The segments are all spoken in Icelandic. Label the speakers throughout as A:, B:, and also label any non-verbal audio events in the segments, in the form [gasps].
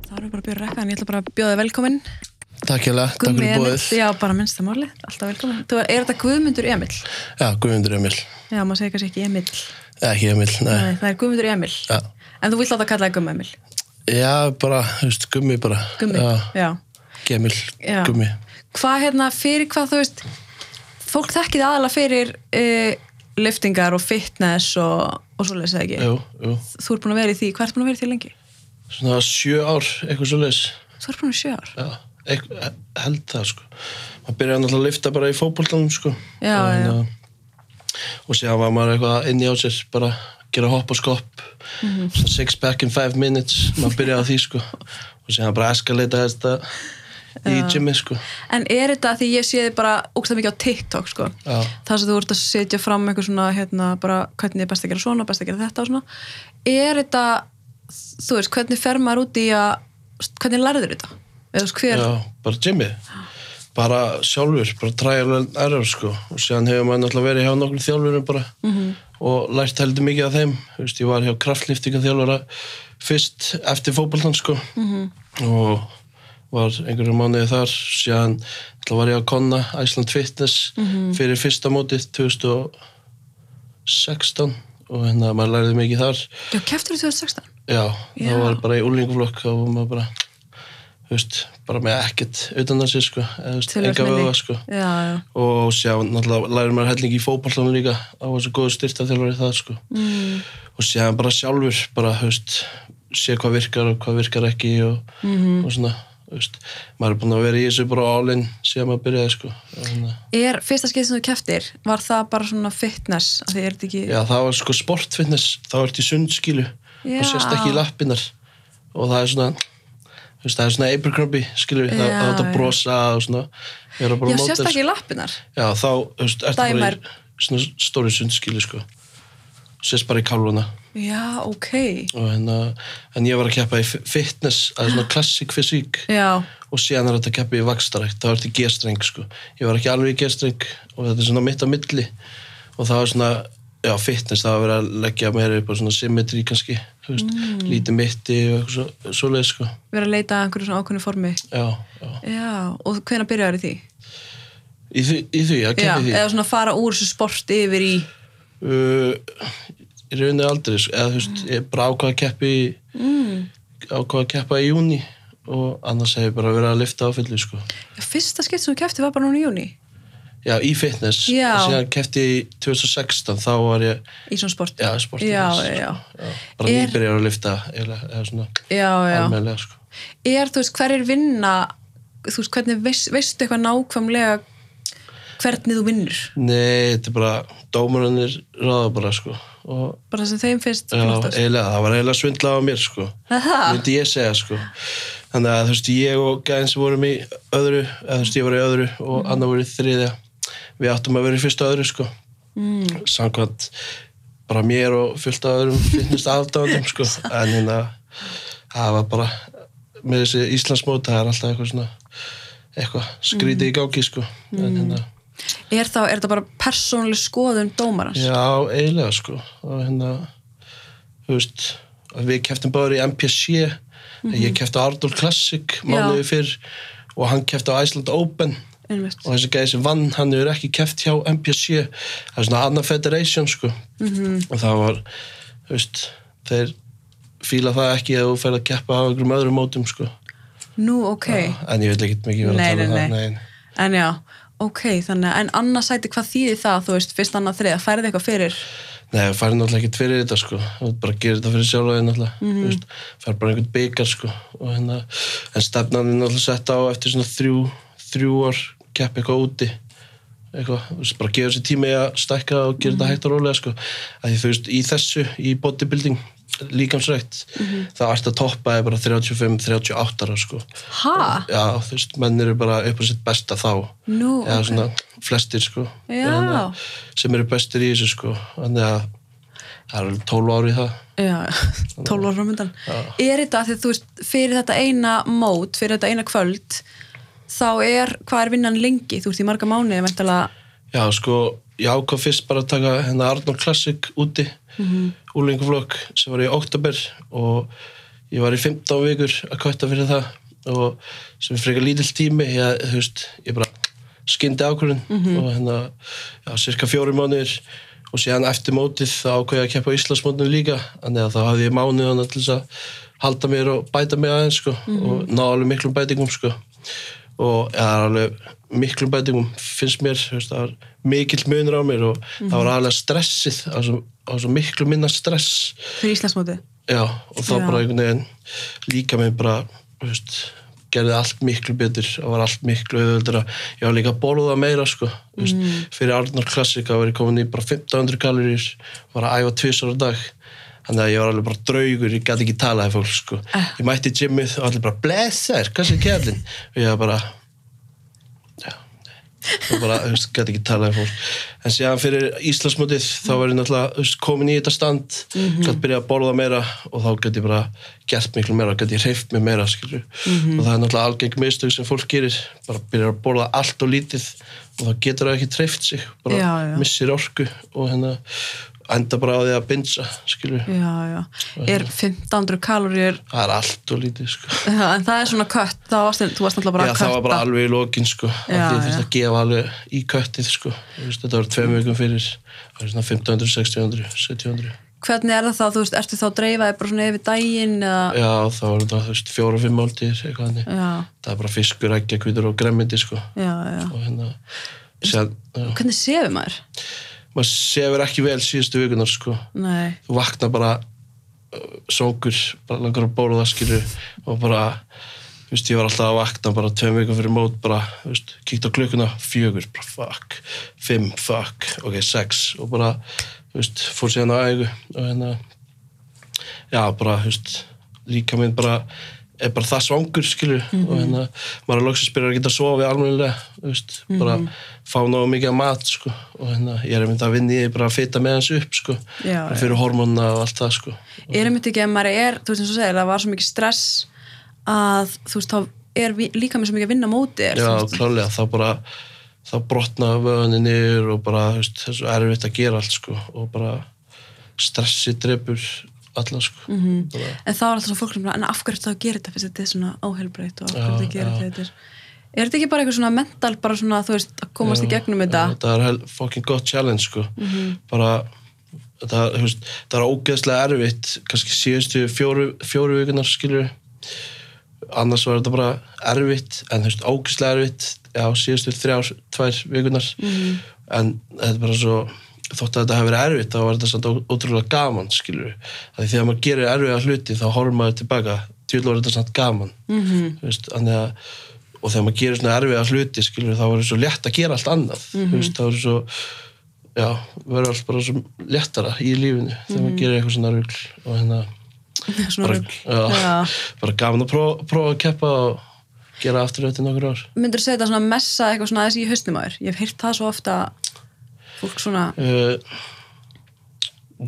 A: en ég ætla bara að bjóða þig velkomin.
B: Takk hjá lega, takk fyrir bóðið.
A: já, bara minnsta máli, alltaf velkomin. Þú er, er þetta Guðmundur Emil?
B: Já, Guðmundur Emil.
A: Já, maður segir kannski ekki Emil. Nei.
B: Ekki Emil, nei.
A: það er Guðmundur Emil.
B: Eh. Já.
A: En þú vilt láta kalla það Gumm Emil.
B: Já, bara, þú veist, gummi bara.
A: Gummi,
B: Já,
A: já.
B: gemil,
A: já.
B: gummi.
A: Hvað hérna, fyrir hvað þú veist, fólk þekkið aðalega fyrir uh, liftingar og fitness og, og svoleiðis eða ekki.
B: Jú, jú.
A: Þú ert búin að vera í því, hvað ert búin að vera í því lengi?
B: Svona sjö ár, eitthvað svo leis.
A: Þú ert búin að vera í sjö ár.
B: Já, eitthvað, held það, sko. Maður byrjaði náttúrulega að lifta bara í fótboltanum, sko.
A: Já,
B: og,
A: já.
B: hérna, Og síðan var maður eitthvað inni á sér, bara gera hopp og skopp.
A: Mhm.
B: Six pack in five minutes, maður byrjaði á því, sko. Og síðan bara eskalita þetta í gymmi, sko.
A: En er þetta því ég sé þið bara ógst mikið á TikTok sko
B: Já.
A: þar sem þú ert að setja fram eitthvað svona hérna bara hvernig er best að gera svona, best að gera þetta og svona er þetta þú veist, hvernig fer maður út í að hvernig lærður þetta? eða þú veist hver,
B: Já, bara Jimmy bara sjálfur, bara trial and error sko. og síðan hefur maður náttúrulega verið hjá nokkur þjálfurum bara og lært heldur mikið af þeim, Þú veist, ég var hjá kraftliftinga þjálfara fyrst eftir fótboltan sko og var einhverju mánuði þar síðan náttúrulega var ég á Konna Iceland Fitness fyrir fyrsta mótið 2016 og hérna maður lærði mikið þar
A: já keftur þú 2016?
B: Já,
A: Já.
B: það var bara í úlingaflokk og maður bara, þú veist, bara með ekkert utan að sér, sko, eða, þú veist, enga
A: Tilraunarminni.
B: vöða, sko.
A: Já, já,
B: Og sjá, náttúrulega lærir maður helling í fótballtanum líka á þessu góðu styrtaþjálfari það, sko. Mm. Og séðan bara sjálfur, bara, þú veist, sé hvað virkar og hvað virkar ekki og, og svona, þú veist, maður er búinn að vera í þessu bara álinn síðan maður byrjaði, sko. Þannig, að-
A: er fyrsta skeið sem þú keftir var það bara svona fitness af því er þetta ekki,
B: já, það var sko sportfitness, það var í sundskilu
A: Já.
B: og sérst ekki í lappinnar og það er svona þú veist, það er svona Abercrombie, skilur við, það
A: Já,
B: það er þetta
A: já.
B: að brosa og svona, vera bara
A: já
B: mótel,
A: sérst
B: sko.
A: ekki í lappinar
B: Já, þá, þú veist, ertu bara
A: Dæmar.
B: í svona stóri sundskilu, sko sérst bara í káluna
A: já, ok,
B: og hérna, en ég var að keppa í fi- fitness, það er svona klassik fysík
A: já
B: og síðan er þetta að keppa í vakstarækt þá ertu í gestreng, sko, ég var ekki alveg í gestreng og þetta er svona mitt á milli og það er svona, já, fitness það var verið að leggja meira upp á svona symmetri kannski, þú veist,
A: Mm.
B: lítið mitti og eitthvað svo, svoleið, sko
A: vera að leita að einhverju svona ákveðnu formi
B: já, já
A: já, og hvenær byrjar því?
B: Í því, í því að
A: Já,
B: keppa í því?
A: eða svona fara úr þessu sport yfir í
B: Uh, í rauninni aldrei, sko, eða þú veist, ég bara ákvað að keppa í, mm. ákvað að keppa í júni og annars hef ég bara verið að lifta á fullu, sko.
A: já, fyrsta skipt sem þú kefti var bara núna í júni
B: Já, í fitness.
A: Já.
B: Og síðan keppti ég í 2016, þá var ég,
A: í svona sport
B: já, sport.
A: já,
B: fitness,
A: já,
B: Sko. já. Bara
A: Er-
B: nýbyrjar að lifta, eða, eða svona,
A: já, já.
B: almennilega, sko.
A: er þú veist hver er vinna þú veist hvernig veist, veistu eitthvað nákvæmlega hvernig þú vinnur
B: Nei, þetta er bara, dómarunir ráða bara, sko. Og
A: bara það sem þeim finnst
B: Já, e-
A: flottast.
B: eiginlega, það var eiginlega svindlað á mér sko
A: Aha.
B: myndi ég segja sko þannig að þú veist, ég og gæðin sem vorum í öðru, eða þú veist, ég var í öðru og mm. annar voru í þriðja við áttum að vera í fyrsta öðru sko mm. samkvæmt bara mér og fullt af öðrum finnist aðdáðum [laughs] sko, en hérna það var bara með þessi Íslandsmóta, það er alltaf eitthvað svona eitthvað skrítið í gangi sko en hérna,
A: er, þá, er það bara persónleg skoðun dómarans
B: Já, eiginlega sko og hérna þú veist, að við keftum bara í MPC
A: Mhm.
B: ég kefti á Ardol Classic mánuði fyrr og hann kefti á Iceland Open
A: einmitt
B: og þessi gæði sem vann, hann hefur ekki keft hjá MPC, það er svona annað federation sko,
A: Mhm.
B: -hmm. og það var þú veist, þeir fíla það ekki að þú fer að keppa á einhverjum öðrum mótum sko,
A: nú ok,
B: en ég vil ekkert mikið vera
A: Nei,
B: að tala um
A: nei,
B: það,
A: nei. en já ok, þannig að en annarsæti hvað þýðir það þú veist, fyrst annað þriða, færið eitthvað fyrir
B: Nei, það fær náttúrulega ekkert fyrir þetta sko það bara gerir þetta fyrir sjálfaði náttúrulega mm -hmm. fær bara einhvern byggar sko og hérna, en stefnan er náttúrulega sett á eftir svona þrjú, þrjú ár kepp eitthvað úti eitthvað, þú veist, bara gefur sér tími að stækka og gera þetta hægt og rólega sko að því þú veist, í þessu, í bodybuilding líkamsrækt, mm -hmm. það ert að toppa er bara 35-38 ára sko
A: ha,
B: já, þú veist, menn eru bara upp á sitt besta þá
A: nú
B: eða
A: ok.
B: svona flestir sko
A: Já.
B: Þannig að- sem eru bestir í þessu sko þannig að það eru 12 ári í það
A: Já, 12 ára framöndan. Er þetta af því að þú veist, fyrir þetta eina mót, fyrir þetta eina kvöld, þá er, hvað er vinnan lengi? Þú ert í marga mánuði, veintalega,
B: já sko, ég ákvað fyrst bara að taka hérna Arnór Classic úti mm
A: Mhm.
B: -hmm. úlinguflokk sem var í oktober og ég var í 15 vikur að kvæta fyrir það og sem er frekar lítill tími ég, þú veist, ég bara skyndi ákvörðin
A: Mhm.
B: og hérna já, cirka fjóri mánuðir og síðan eftir mótið þá ákveði ég að keppa á Íslandsmótinu líka þannig að þá hafði ég mánuð hann til þess að halda mér og bæta mig aðeins sko, og ná alveg miklum bætingum sko. og það er alveg miklum bætingum finnst mér, þú veist, það var mikill munur á mér og það var alveg stressið það var svo- það var svo miklu minna stress
A: fyrir Íslandsmóti
B: Já, og þá
A: Já.
B: bara einhvern veginn líka minn bara, þú veist, gerði allt miklu betur og var allt miklu auðvöldur ég var líka að borða meira, sko, þú veist, fyrir Arnar Klassika var ég komin í bara 1500 kalorir, var að æfa tvisar á dag, þannig að ég var alveg bara draugur, ég gæti ekki talað af fólk, sko. Ég mætti í gymmið og allir bara, blessaður, hvað sem kjærlinn? Og ég var bara, og bara, þú veist, gæti ekki talað um fólk en síðan fyrir Íslandsmótið þá var ég náttúrulega, þú veist, komin í þetta stand mm
A: Mhm.
B: gæti byrjað að borða meira og þá gæti ég bara gert miklu meira, gæti ég hreift mig meira, skilju,
A: Mhm.
B: og það er náttúrulega algeng mistök sem fólk gerir, bara byrjar að borða allt og lítið og þá getur það ekki hreift sig, bara
A: Já, já.
B: missir orku og hérna enda bara á því að binsa, skilju
A: já, já. er 1500 kaloríur [laughs]
B: það er allt og lítið, sko
A: en það er svona kött þá varst, þú varst náttúrulega bara
B: Já,
A: að
B: það var bara
A: kötta.
B: alveg í lokin sko
A: Já,
B: af því ég
A: já. Mm.
B: þurfti að gefa alveg í köttið sko Þú veist, þetta var tveim vikum fyrir það var svona 1500, 1600, 1700
A: hvernig er það þá, þú veist, ertu þá að dreifa þig bara svona yfir daginn eða...
B: Já, það var þetta, þú veist, fjóra, fimm máltíðir eitthvað þannig,
A: Ah. já,
B: það er bara fiskur, eggja, kvítur og gremmindi sko
A: já, já
B: og hérna sér, já,
A: hvernig sefur maður?
B: maður sefur ekki vel síðustu vikunar sko
A: Nei,
B: þú vaknar bara uh, sókur, bara langar að bóla það skilur og bara þú veist, ég var alltaf að vakna bara tveim vikum fyrir mót bara, þú veist, kíkt á klukkuna fjögur, bara fuck, fimm, fuck ok, sex og bara þú veist, fór síðan á ægu og hérna já, bara, þú veist, líka minn bara er bara það svangur, skilur
A: Mhm.
B: og hérna, maður er loksins byrjar að geta að sofa almennilega, þú veist, bara
A: Mhm.
B: fá náðu mikið af mat, sko og hérna, ég er mynd að vinna í því bara að fita með hans upp, sko
A: Já,
B: Bara
A: já.
B: fyrir hormónuna og allt það, sko
A: er einmitt ekki að maður er þú veist eins og segir, það var svo mikið stress að þú veist, þá er vi- líka mér svo mikið að vinna á móti er,
B: Já, klálega, þá bara þá brotna vöðunni niður og bara, þú veist, þessu erfitt að gera allt, sko og bara stressi drepur alla, sko mm
A: Mhm,
B: -hmm. bara,
A: en þá er alltaf svo fólk sem bara, en af hverju ertu þá að gera þetta fyrst þetta er svona óheilbreytt og af hverju
B: Já,
A: ertu að gera
B: já.
A: þetta þetta er, er þetta ekki bara eitthvað svona mental bara svona, þú veist, að komast í gegnum þetta Mhm.
B: Já, það er hel- fucking gott challenge sko. bara það, þú veist, það er ógeðslega erfitt kannski síðustu fjóru, fjóru vikunar skilur annars var þetta bara erfitt en þú veist, ógeðslega erfitt já, síðustu þrjár, tvær vikunar en þetta er bara svo þótt að þetta hefur verið erfitt þá var þetta samt ó- ótrúlega gaman skilur því þegar maður gerir erfiða hluti þá horfum maður tilbaka djúl var þetta samt gaman mm -hmm. veist, þannig að og þegar maður gerir svona erfiða hluti skilur, þá verður svo létt að gera allt annað mm veist, þá verður svo já, verður allt bara svo léttara í lífinu þegar maður gerir eitthvað svona rugl og hérna
A: [laughs] svona
B: bara,
A: rugl.
B: já,
A: Já.
B: bara gaman að prófa, prófa að keppa og gera aftur eftir nokkur ár
A: myndur segja þetta svona messa eitthvað svona aðeins í hausnum á þér ég hef heyrt það svo ofta fólk svona
B: uh,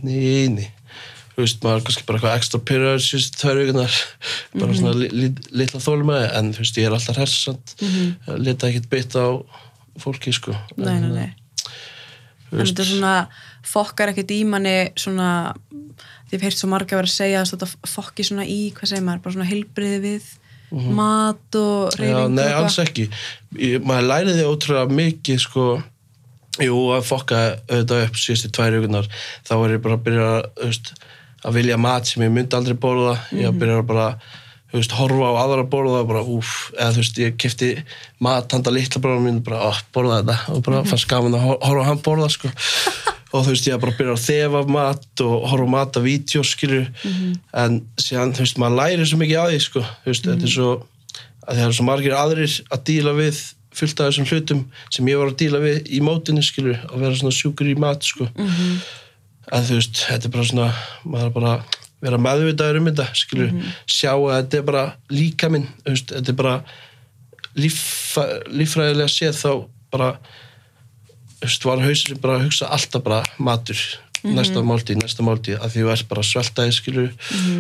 B: Nei, nei Þú veist, maður er kannski bara eitthvað ekstra pyrraður síðustu tvær vikunar bara
A: Mhm.
B: svona li, li, litla þólmaði en þú veist, ég er alltaf hersand mm -hmm. leta ekkert beitt á fólki sko.
A: Mhm.
B: En,
A: nei, nei,
B: hérna,
A: nei.
B: þú
A: en
B: veist,
A: þetta svona fokkar ekkert í manni svona ég hef heyrt svo marga verið að segja að þetta fokki svona í, hvað segir maður, bara svona heilbriði við mat og
B: Mhm. Já,
A: reyfing
B: nei,
A: og
B: alls ekki. Ég, maður læri því ótrúlega mikið, sko, jú, að fokka auðvitað upp síðustu tvær hugunar. Þá var ég bara að byrja að, þú veist, að vilja mat sem ég myndi aldrei borða. Ég byrja að bara, þú veist, horfa á aðra borða og bara, úf, eða þú veist, ég kefti mat handa litla bróðum mín, bara, ó, borða þetta og bara fannst gaman að hor- horfa á hann borða, sko. og þú veist, ég bara byrja að þefa af mat og horfa á mat af vídeo, skilur, en síðan, þú veist, maður læri svo mikið á því, sko, þú veist, þetta er svo, að það eru svo margir aðrir að díla við fullt af þessum hlutum sem ég var að díla við í mótinu skilur að vera svona sjúkur í mat sko. -hmm. en þú veist, þetta er bara svona maður er bara að vera meðvitaður um þetta skilur, sjá að þetta er bara líka minn, þú veist, þetta er bara líffæ, líffræðilega séð þá bara þú veist, var hausinn bara að hugsa alltaf bara matur, næsta máltíð, næsta máltíð að því þú ert bara að svelta þig skilur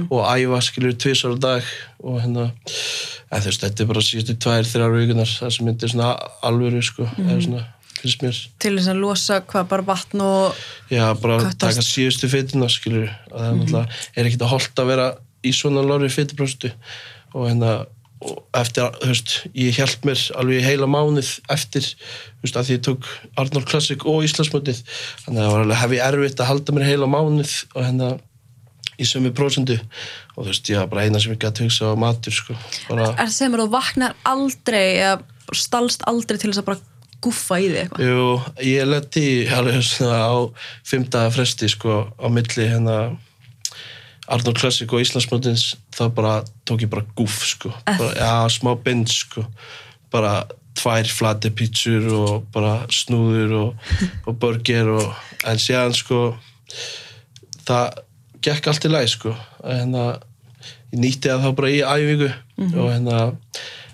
B: og æfa skilur tvisar á dag og hérna en þú veist, þetta er bara síðustu tvær, þrjár vikunar það sem myndir svona alvöru sko eða svona, finnst mér
A: til þess að losa hvað bara vatn og
B: Já, bara
A: Kattast.
B: taka síðustu fytuna, skilur að það er náttúrulega, er ekkert að holta að vera í svona lóri fytubróstu og hérna, og eftir, að- þú veist, ég held mér alveg í heila mánuð eftir, þú veist, að því ég tók Arnold Classic og Íslandsmótið þannig að það var alveg hefði erfitt að halda mér heila mánuð og hérna í sömu prósendu og þú veist, ég var bara eina sem ég gæti hugsa á matur, sko bara,
A: Er það sem er þú vaknar aldrei eða stalst aldrei til þess að bara guffa í því eitthvað?
B: jú, ég leti alveg svona á fimmtaða fresti, sko, á milli hérna Arnold Classic og Íslandsmótins þá bara tók ég bara gúf sko. bara, já, smá bind sko. bara tvær flati pítsur og bara snúður og, og burger og, en síðan sko það gekk allt í læg sko. hérna, ég nýtti það þá bara í æfingu og hérna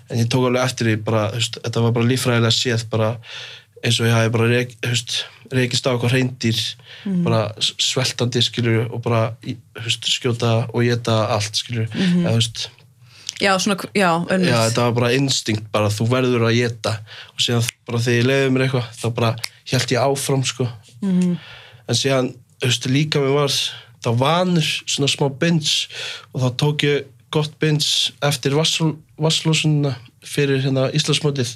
B: en ég tók alveg eftir því bara, þú veist, þetta var bara líffræðilega séð bara eins og ég hafi bara reik, þú veist, reikist á eitthvað reyndir bara s- sveltandi skilur og bara í- þú veist, skjóta og geta allt skilur eða, þú veist,
A: Já, svona, já, önnur.
B: já, þetta var bara instinkt bara þú verður að geta og síðan bara þegar ég leiði mér eitthvað þá bara held ég áfram sko en síðan, þú veist, líka mér var þá vanur svona smá bins og þá tók ég gott bins eftir vasslósunna fyrir hérna Íslandsmótið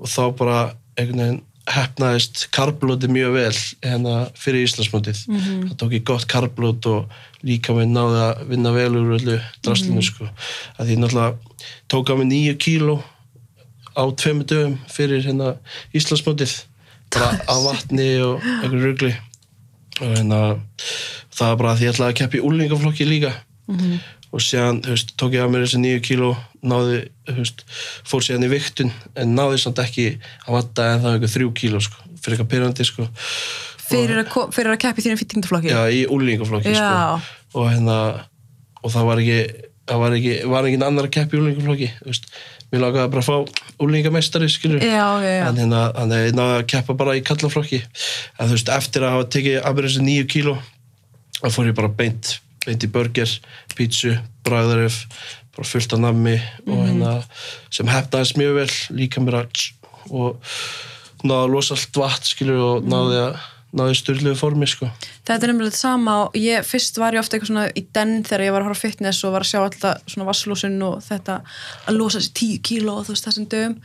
B: og þá bara einhvern veginn hefnaðist karblóti mjög vel hérna fyrir Íslandsmótið mm -hmm. það tók ég gott karblót og líka mér náði að vinna vel úr öllu draslinu sko, að ég náttúrulega tók að mér nýju kíló á tveimu dögum fyrir hérna Íslandsmótið bara að vatni og einhverju rugli og hérna það var bara að ég ætlaði að keppa í úlingaflokki líka og síðan þú veist, tók ég að mér þessi nýju kíló náði, þú veist, fór síðan í viktun en náði samt ekki að vatta en það var eitthvað þrjú kíló sko, fyrir eitthvað pyrrandi sko
A: Fyrir að, ko- fyrir að keppa í þínum fittingdaflokki.
B: já, í úlingaflokki
A: Já.
B: sko. og hérna og það var ekki það var ekki, var ekki annar að keppa í úlingaflokki þú veist, mér lagaði bara að fá úlingameistari skilur
A: já, já. já.
B: en hérna, hann hefði náði að keppa bara í kallaflokki en þú veist, eftir að hafa tekið Abirins nýju kíló þá fór ég bara beint, beint í burger pítsu, bræðaröf bara fullt af nammi
A: Mhm.
B: og hérna sem hefnaðist mjög vel líka mér að og náði að losa allt vatn skilur og
A: Mhm.
B: náði að náði styrluðu formi sko
A: Þetta er nefnilega sama og ég, fyrst var ég ofta eitthvað svona í den þegar ég var að horfa á fitness og var að sjá alltaf svona vasslúsin og þetta að losa sér 10 kíló og þú veist þessum dögum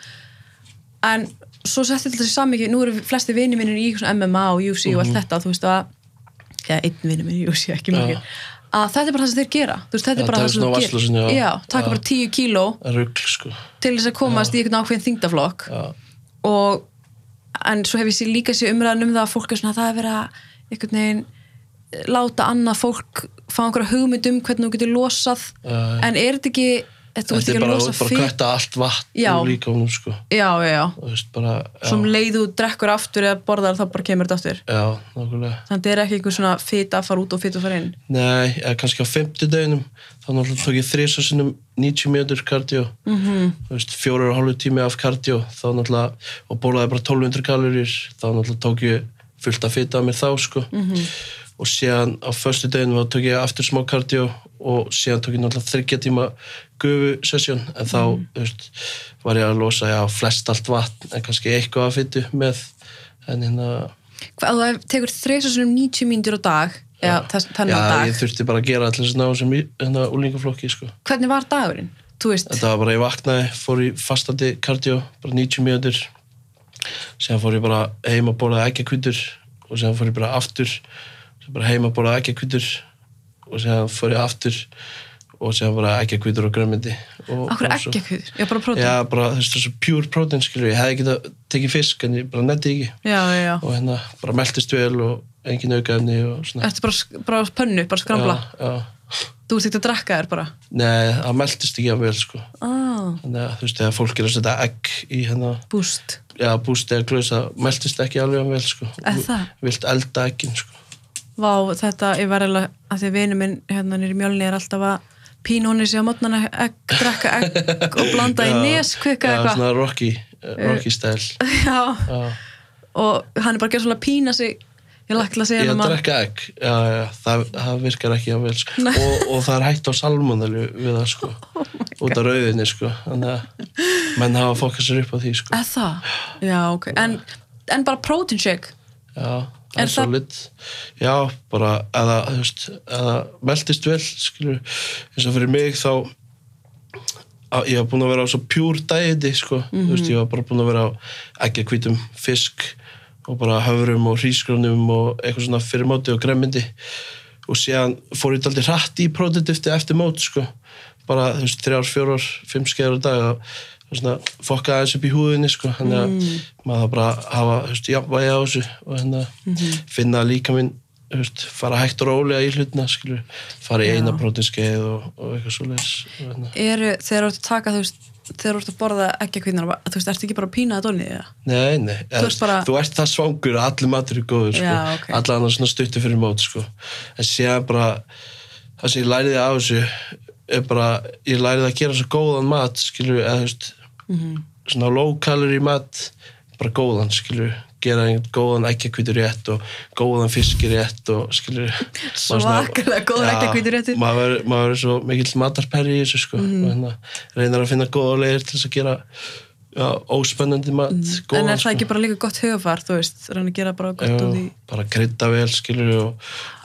A: en svo setti þetta í samingi, nú eru flesti vini mínir í svona MMA og UFC og
B: Mhm.
A: allt þetta og þú veist að, já, einn vini minn í UFC ekki margir, að þetta er bara það sem þeir gera þú veist, þetta
B: Já,
A: er bara
B: það er
A: það sem
B: svona
A: þeir
B: vatnslösun,
A: gera
B: já.
A: taka
B: Já.
A: bara 10 kíló
B: rugl sko
A: til þess að komast í einhvern ákveðin þingdaflokk
B: Já.
A: og en svo hef ég sé, líka sé umræðan um það að fólk er svona að það er verið að einhvern veginn eh, láta annað fólk fá einhverja hugmynd um hvernig þú getur losað
B: Já, já.
A: en er þetta ekki eh, þú ert ekki
B: þetta er
A: að
B: bara,
A: losa
B: bara
A: fyrir já,
B: kvætta allt vatn
A: Já.
B: úr líkaunum sko
A: já, já,
B: og þú veist bara já,
A: svo um leið þú drekkur aftur eða borðar þá bara kemur þetta aftur
B: já, nákvæmlega
A: þannig að þetta er ekki einhver svona fita að fara út og fita að fara inn
B: Nei, eða kannski á fimmtudeginum þá náttúrulega tók ég þrisa sinnum 90 mínútur kardió mm
A: Mhm.
B: -hmm. veist, fjórar og hálfu tími af kardió þá náttúrulega, og bólaði bara 1200 kalorir þá náttúrulega tók ég fullt að fita að mér þá sko
A: Mhm.
B: -hmm. og síðan á föstudeginum þá tók ég aftur smá kardió og síðan tók ég náttúrulega þryggja tíma gufu sessjón en þá
A: Mhm.
B: þú veist, var ég að losa já, flest allt vatn en kannski eitthvað að fitu með en hérna
A: hvað þú hef- tekur þreisa svona 90 mínútur á dag eða þess- þannig á
B: Já,
A: dag
B: ég þurfti bara að gera allir þessi náðum sem í hérna úlingaflokki, sko.
A: hvernig var dagurinn? þú veist,
B: Þetta var bara, ég vaknaði, fór í fastandi kardió, bara 90 mínútur, síðan fór ég bara heim að borða ekkjakvítur og síðan fór ég bara aftur, síðan bara heim að borða ekkjakvítur og síðan fór ég aftur og síðan bara ekkjakvítur og grömmindi.
A: okkur ekki ekki já, bara prótum já,
B: Já, bara þessu, þessu pure protein, skilur, ég hefði getað tekið fisk en ég bara netti ekki
A: já, já,
B: og hérna bara meltist vel og engin aukaðni og svona.
A: ertu bara, sk- bara á pönnu, bara skrambla
B: Já, já.
A: þú ert ekki að drekka þér bara
B: Nei, það meldist ekki að vel sko.
A: ah,
B: Þannig að þú veist, þegar fólk er að setja egg í hérna,
A: búst
B: já, bústi eða glöðs, það meldist ekki alveg að vel sko.
A: Er það?
B: Vilt elda eggin sko.
A: Vá, þetta, ég var alveg að því að vinu minn hérna nýri mjölni er alltaf að pín honum sig á mótnana egg, drekka
B: [laughs]
A: egg og blanda í
B: Já,
A: neskvika
B: Já,
A: eitthvað
B: svona Rocky, eh, Rocky stæl.
A: [laughs] já,
B: Já,
A: og hann er bara að gera svona að pína sig ég lakla sig
B: ég
A: hann
B: að
A: um að
B: drekka egg, já, já, það, það virkar ekki að vel sko. Og, og það er hægt á salmonellu við það
A: [laughs]
B: sko.
A: Oh
B: Út af rauðinni sko. Þannig að menn hafa fókasur upp á því sko.
A: eða það, já, ok en, en bara protein shake
B: Já, það
A: Er
B: er
A: það-
B: solid Já, bara eða, þú veist, eða meldist vel skilur, eins og fyrir mig þá á- ég var búin að vera á svo pjúr dæti sko, þú veist, ég var bara búin að vera á ekki hvítum fisk og bara höfrum og hrísgrónum og eitthvað svona fyrirmáti og gremmindi og síðan fór ég daldi hratt í prótitifti eftir mót sko, bara þú veist, þrjár, fjórar, fimm skeiður á dag og og svona fokka aðeins upp í húðinni sko, þannig að maður þarf bara að hafa, þú veist, jafnvægi á þessu og hérna finna líka minn þú veist, fara hægt og rólega í hlutina skilur, fara í
A: Já.
B: eina prótinskeið og, og eitthvað svoleiðis og hérna.
A: eru, þegar þú ert að taka þú veist, þegar þú ert að borða ekki kvinnar þú veist, ertu ekki bara að pína það dónið eða?
B: Nei, nei, þú
A: ert bara-
B: þú ert það svangur að allir matur er góður sko.
A: Já, ok.
B: allar annars svona stuttu fyrir mót sko. en séðan bara það sem ég læriði á þessu er bara, ég læriði að gera svo góðan mat skilur, eða þú veist
A: Mhm.
B: svona low calorie mat bara góðan skilur, gera einhvern góðan ekkjakvítur rétt og góðan fiskir rétt og skilur maður svona-
A: [laughs] Svakalega góður
B: Já,
A: eggjahvíturéttur.
B: maður verður- maður verður svo mikill matarperri í þessu sko og
A: Mhm.
B: hérna reynar að finna góða leiðir til þess að gera já, óspennandi mat góðan,
A: Mhm. en er það
B: sko.
A: ekki bara líka gott höfar þú veist, reyna að gera bara gott
B: Já,
A: úr því
B: bara krydda vel skilur og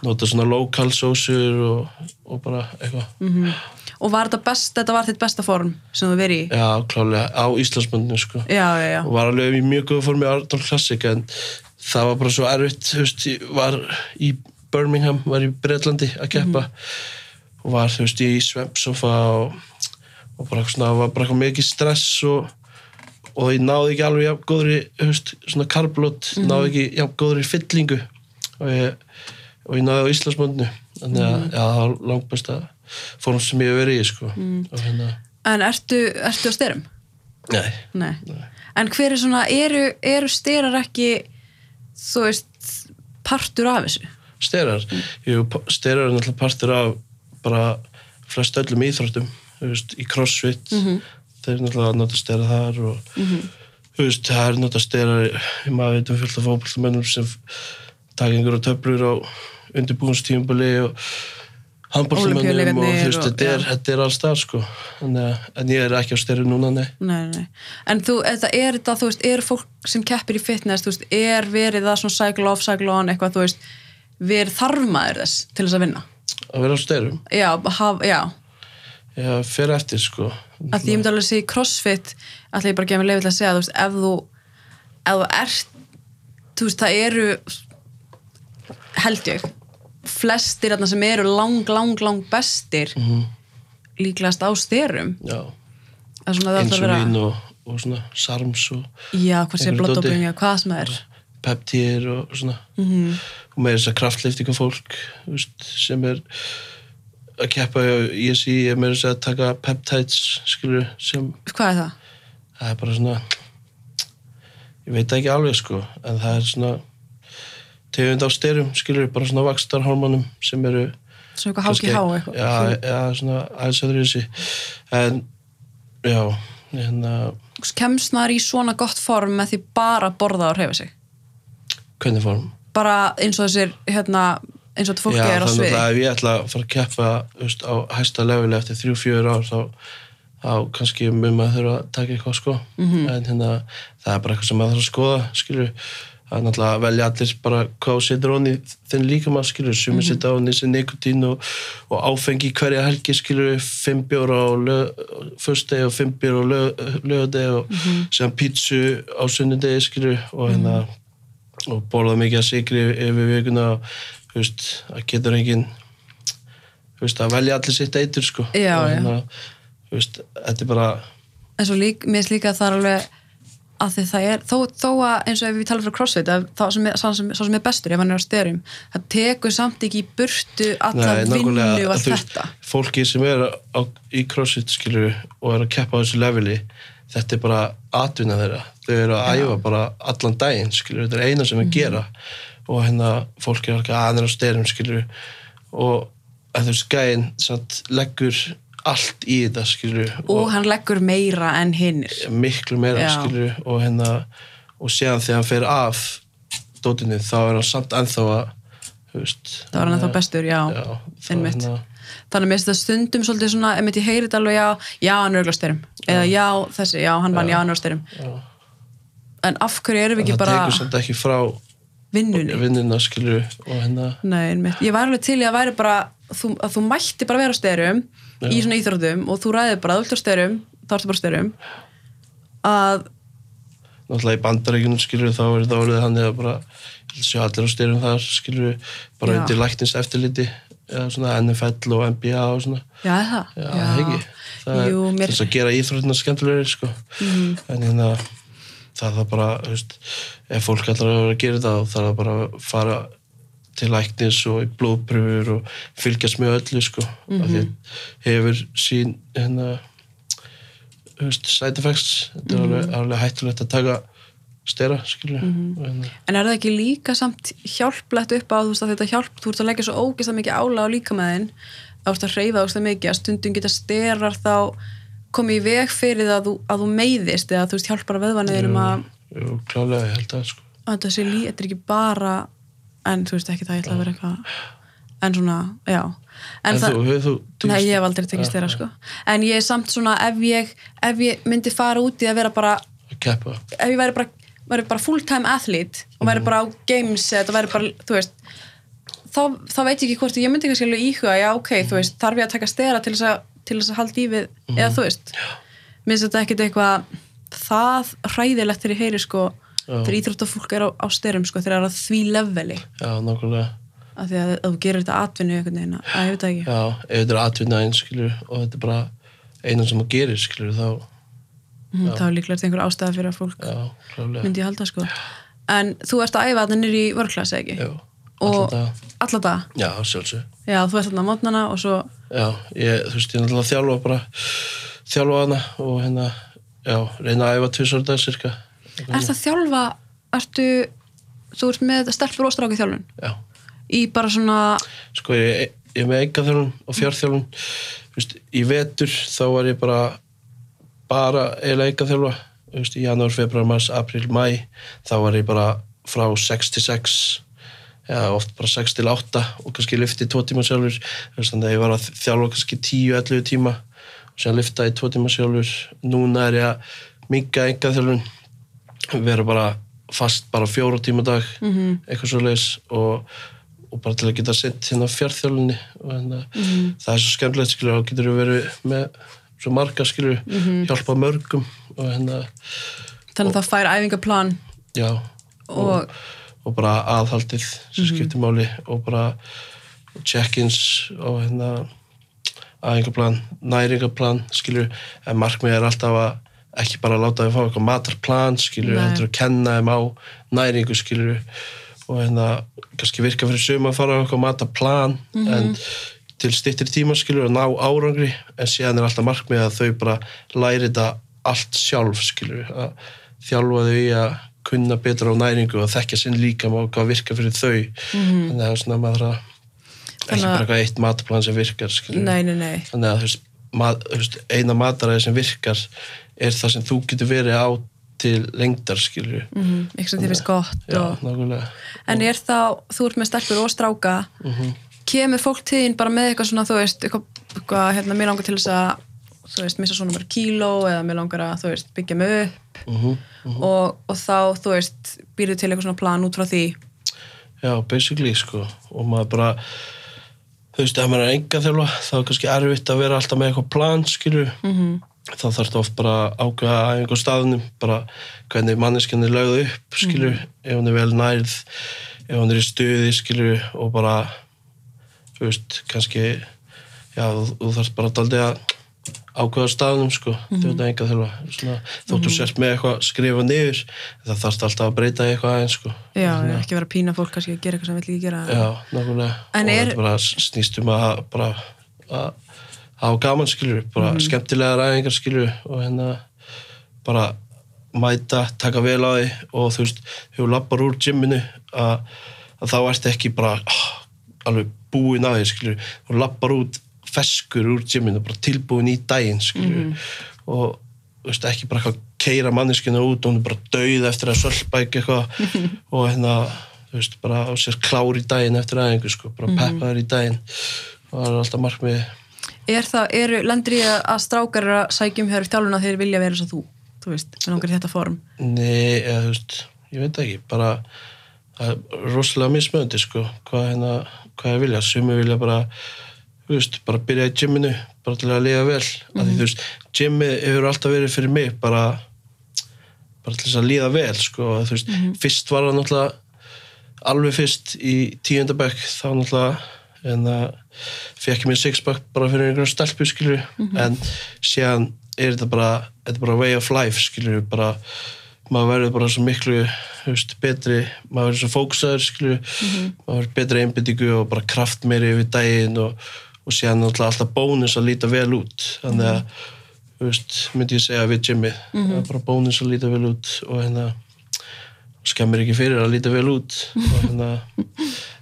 B: nota svona lokal sósur og, og bara eitthvað
A: Mhm. Mm. og var þetta best, þetta var þitt besta form sem þú verið í?
B: já, klálega, á Íslandsmöndinu sko
A: Já, já, já,
B: og var alveg í mjög góð formi Ardal Classic en það var bara svo erfitt þú veist, ég var í Birmingham var í Bretlandi að keppa og var þú veist ég í svempsofa og, og bara eitthvað svona var bara eitthvað mikið stress og og ég náði ekki alveg jafn góðri þú veist, svona karblót, náði ekki jafn góðri fyllingu og ég, og ég náði á Íslandsmöndinu þannig að já, það var langbæsta form sem ég hef verið í sko. og hérna,
A: En ertu, ertu á styrum?
B: nei,
A: Nei. En hver er svona, eru, eru styrar ekki, þú veist, partur af þessu?
B: sterar Jú, pa- sterar er náttúrulega partur af bara flest öllum íþróttum þú veist, í crossfit
A: Mhm.
B: þeir náttúrulega að nota sterar þar og þú veist, það er nota sterar í maður veitum fullt af fótboltamönnum sem f- taka einhverja töflur á undirbúinstímbali og handbóltamönnum og þú veist,
A: Ólympíuleikarnir og-
B: þetta er,
A: já.
B: þetta er alls það sko en, en ég er ekki á sterum núna, nei
A: Nei, nei. En þú, þetta er þetta, þú veist, er fólk sem keppir í fitness, þú veist, er verið það svona cycle off, cycle on, eitthvað, þú veist, verið þarfmaður þess til þess að vinna?
B: að vera á sterum,
A: Já, haf, já.
B: ég fer eftir sko
A: Að því ég myndi alveg að segja í crossfit, að ég bara gefið mér leifið til að segja, þú veist, ef þú, ef þú ert, þú veist, það eru, held ég, flestir þarna sem eru lang, lang, lang bestir,
B: Mhm.
A: líklegast á styrum.
B: já,
A: Það er svona það þarf að vera,
B: insulín og, og svona sarms og
A: já, hvað sé
B: Einhverju
A: blóttóping,
B: dóti.
A: já, hvað sem það er.
B: peptíðir og svona -hmm.
A: Mhm.
B: og með þess að kraftliftinga fólk veist, sem er að keppa í ESI er með þess að taka peptides skilur sem
A: Hvað er það?
B: það er bara svona ég veit það ekki alveg sko en það er svona tegund á styrum skilur bara svona vakstarhormonum sem eru
A: Svo eitthvað
B: kannski-
A: HGH eitthvað. Hm.
B: já, já, svona aðeins öðru þessi en já hérna,
A: kemst maður í svona gott form með því bara að borða og reyfa sig
B: hvernig form
A: bara eins og þessir hérna, eins og þetta fólki er á
B: þannig
A: sviði
B: að ef ég ætla að fara að keppa þú veist, á hæsta leveli eftir þrjú, fjör ár þá, þá kannski mun maður þurfa að taka eitthvað sko -hmm. en hérna, það er bara eitthvað sem maður þarf að skoða skilur, það er náttúrulega að velja allir bara hvað þú setur honni þinn líka maður skilur, sumir mm -hmm. setja honni sem nikotín og, og áfengi hverja helgi skilur, fimm bjóra á fyrstegi og fimm bjóra á lögadegi og mm -hmm. sem pítsu á sunnudegi skilur og hérna og borða mikið að sigri yfir vikuna og þú veist, það getur engin þú veist, að velja allir sitt eitur sko
A: Já,
B: og,
A: já.
B: já. Þú veist, þetta er bara
A: en svo lík, mér finnst líka að það er alveg að því það er, þó, þó að eins og ef við tala frá crossfit, að þá sem er, sá sem, sá sem er bestur ef hann er á styrum, það tekur samt ekki í burtu alla vinnu
B: nákvæmlega,
A: og allt
B: þú veist,
A: þetta
B: fólki sem er á, í crossfit skilur og er að keppa á þessu leveli þetta er bara atvinna þeirra þau eru að æfa bara allan daginn skilur, þetta er eina
A: Mhm.
B: sem við gera og hérna fólki er alveg aðeins á styrum skilur og að þú veist, gæinn samt leggur allt í þetta skilur
A: og hann leggur meira en hinnir
B: miklu meira
A: Já.
B: skilur og hérna og séðan þegar hann fer af dótinu þá er hann samt ennþá að þú veist
A: það var hann þá bestur, já,
B: já, það er
A: einmitt
B: hérna-
A: þannig að mér finnst það stundum svolítið svona, einmitt ég heyri þetta alveg já, já, hann er auðvitað styrum eða já, þessi, já, hann vann, já, hann er á styrum en af hverju erum við
B: það
A: ekki bara
B: tekur samt ekki frá
A: vinnunni
B: vinnina skilur og hérna
A: Nei, einmitt. ég var alveg til í að væri bara þú, að þú mætti bara vera á styrum í svona íþróttum og þú ræðir bara að þú ert á styrum þá ertu bara styrum að
B: náttúrulega í bandaríkunum skilur þá er það orðið hann eða bara ég held að sjá allir á styrum þar skilur bara
A: Já.
B: undir læknins eftirliti eða svona NFL og NBA og svona
A: já, er það
B: já, það ekki það
A: Jú,
B: er
A: mér, Mhm.
B: þess að gera íþróttina skemmtilegri sko. en hérna það er það bara þú veist, ef fólk ætlar að vera að gera það þá þarf það bara að fara til læknis og í blóðpröfur og fylgjast með öllu sko. mm
A: Mhm.
B: -hmm. hefur sín hérna þú veist, side effects
A: Mhm.
B: þetta er alveg, alveg hættulegt að taka stera skilju mm
A: Mhm.
B: -hmm.
A: en er það ekki líka samt hjálplegt upp á þú veist að þetta hjálp, þú ert að leggja svo ógeðst að mikið ála á líkamæðin þá ert að hreyfa ógeðst að mikið, að stundum geta sterar þá komið í veg fyrir það að þú, að þú meiðist eða þú veist hjálpar að veðvanniðir um að
B: jú, klálega, ég held að sko.
A: að þetta sé lí, þetta er ekki bara en þú veist ekki það, ég ætla að vera eitthvað en svona, já en,
B: en,
A: það,
B: þú, hefur þú
A: nei, ég hef aldrei tekist þeirra sko, en ég er samt svona ef ég, ef ég myndi fara út í að vera bara,
B: að keppa
A: ef ég væri bara, væri bara full time athlete og
B: Mhm.
A: væri bara á games eða þetta væri bara, þú veist þá, þá veit ég ekki hvort, ég myndi kannski alveg íhuga, já ok,
B: Mhm.
A: þú veist, þarf ég að taka stera til þess að, til þess að halda í við eða þú veist, minnst þetta ekkit eitthvað það hræðilegt þegar ég heyri sko,
B: Já.
A: þegar íþróttafólk er á, á styrum sko, þegar það er á því leveli
B: já, nákvæmlega
A: af því að ef þú gerir þetta atvinnu einhvern veginn, að ég veit það ekki
B: Já, ef þetta er atvinna einn, skilur, og þetta er bara einan sem að gerir, skilur, þá,
A: Mhm, þá er líklega einhver ástæða fyrir að fólk
B: já, klálega.
A: myndi ég halda sko en þú ert að æfa þetta niður í vörklass ekki?
B: Já,
A: og
B: alltaf það.
A: alla dag,
B: Já, sjálfsög.
A: já þú ert þarna á mótnana og svo,
B: Já, ég, þú veist, ég er náttúrulega að þjálfa bara, þjálfa hana og hérna, já, reyna að æfa tvisar dag, cirka.
A: ert það þjálfa ertu, þú ert með stelpur og stráki þjálfun
B: Já,
A: í bara svona,
B: sko, ég, ég er með enga þjálfun og fjárþjálfun, þú veist, í vetur þá var ég bara, bara eiginlega enga þjálfa, þú veist, í janúar, februar, mars, april, mæ, þá var ég bara frá 6 til 6 eða oft bara 6 til 8 og kannski lyfti 2 tíma sjálfur Þú veist, þannig að ég var að þjálfa kannski 10-11 tíma og sér lyfta í 2 tíma sjálfur núna er ég að minga enga þjálfun vera bara fast bara 4 tíma á dag -hmm. eitthvað svo leis og, og bara til að geta sett hérna fjárþjálfunni og hérna, það er svo skemmtilegt skilur, þá getur við verið með svo marga skilur, hjálpa mörgum og hérna,
A: þannig að það fær æfingaplan
B: já
A: og,
B: og bara aðhaldið sem skiptir máli og bara check-ins og hérna aðingaplan, næringaplan skilur, en markmið er alltaf að ekki bara láta þau fá eitthvað matarplan skilur,
A: Nei.
B: heldur að kenna þeim á næringu skilur og hérna kannski virka fyrir suma að fara á eitthvað matarplan
A: Mhm.
B: en til styttir tíma skilur og ná árangri en síðan er alltaf markmið að þau bara læri þetta allt sjálf skilur að þjálfa þau í að kunna betra á næringu og þekkja sinn líka má hvað virka fyrir þau þannig að það er svona að maður þarf að ekki
A: Mhm. Þannig að-
B: bara eitthvað eitt matplan sem virkar skilur
A: nei, nei, nei
B: þannig að þú veist, mat, þú veist, eina mataræði sem virkar er það sem þú getur verið á til lengdar skilur mm.
A: mm, eitthvað sem þið finnst gott
B: já,
A: og,
B: nákvæmlega
A: en er þá, þú ert með stelpur og stráka Mhm. kemur fólk til þín bara með eitthvað svona, þú veist eitthvað, eitthvað hérna, mér langar til þess að þú veist, missa svona bara kíló eða mér langar að, þú veist, byggja mig upp
B: mm -hmm.
A: og, og þá, þú veist, býrðu til eitthvað svona plan út frá því
B: Já, basically, sko. Og maður bara, þú veist, ef maður er enga þjálfa, þá er kannski erfitt að vera alltaf með eitthvað plan, skilju. Mm -hmm. Þá þarf það oft bara að ákveða að einhver staðnum, bara hvernig manneskjan er lögð upp, skilju, ef hún er vel nærð, ef hún er í stuði, skilju, og bara, þú veist, kannski, já, þú, þú þarfst bara daldið að ákveða staðnum, sko, mm -hmm. þjóta enga þjálfa. Svona, þóttu mm sért með eitthvað skrifa niður, það þarfst alltaf að breyta í eitthvað aðeins, sko.
A: já, ekki vera að pína fólk kannski að gera eitthvað sem vill ekki gera
B: Já, nákvæmlega.
A: En
B: og
A: er-
B: þetta bara snýst um að bara að hafa gaman skilur, bara
A: Mhm.
B: skemmtilega ræðingar skilur og hérna bara mæta, taka vel á því og þú veist, hefur lappar úr gymminu að, að þá ert ekki bara ah, alveg búin að því skilur og lappar út feskur úr gymminu, bara tilbúin í daginn skilur og þú veist, ekki bara eitthvað keira manneskinu út og hún er bara dauð eftir að sölpa ekki eitthvað og hérna þú veist, bara á sér klár í daginn eftir aðeingu, sko, bara peppaður í daginn og það er alltaf markmið
A: er það, eru, lendur ég að strákar eru að sækjum hér þjálfuna þeir vilja vera eins og þú þú veist, mér langar í þetta form
B: nei, eða þú veist, ég veit ekki bara, það er rosalega mismöndi, sko hvað hérna, hvað ég vilja, sumi vilja bara þú veist, bara byrja í gyminu bara til að liða vel mm því, þú veist, gymið hefur alltaf verið fyrir mig bara, bara til þess að líða vel sko, þú veist, fyrst var það náttúrulega alveg fyrst í tíundabæk þá náttúrulega en að fekk ég mér sixpack bara fyrir einhverjum stelpu skilur en síðan er þetta bara, þetta er bara way of life skilur bara maður verður bara svo miklu þú veist, betri, maður verður svo fókusaður skilju, maður verður betri einbyttingu og bara kraft meiri yfir daginn og, og síðan náttúrulega alltaf bónus að líta vel út þannig að þú veist, myndi ég segja við Jimmy það er bara bónus að líta vel út og hérna skemmir ekki fyrir að líta vel út og hérna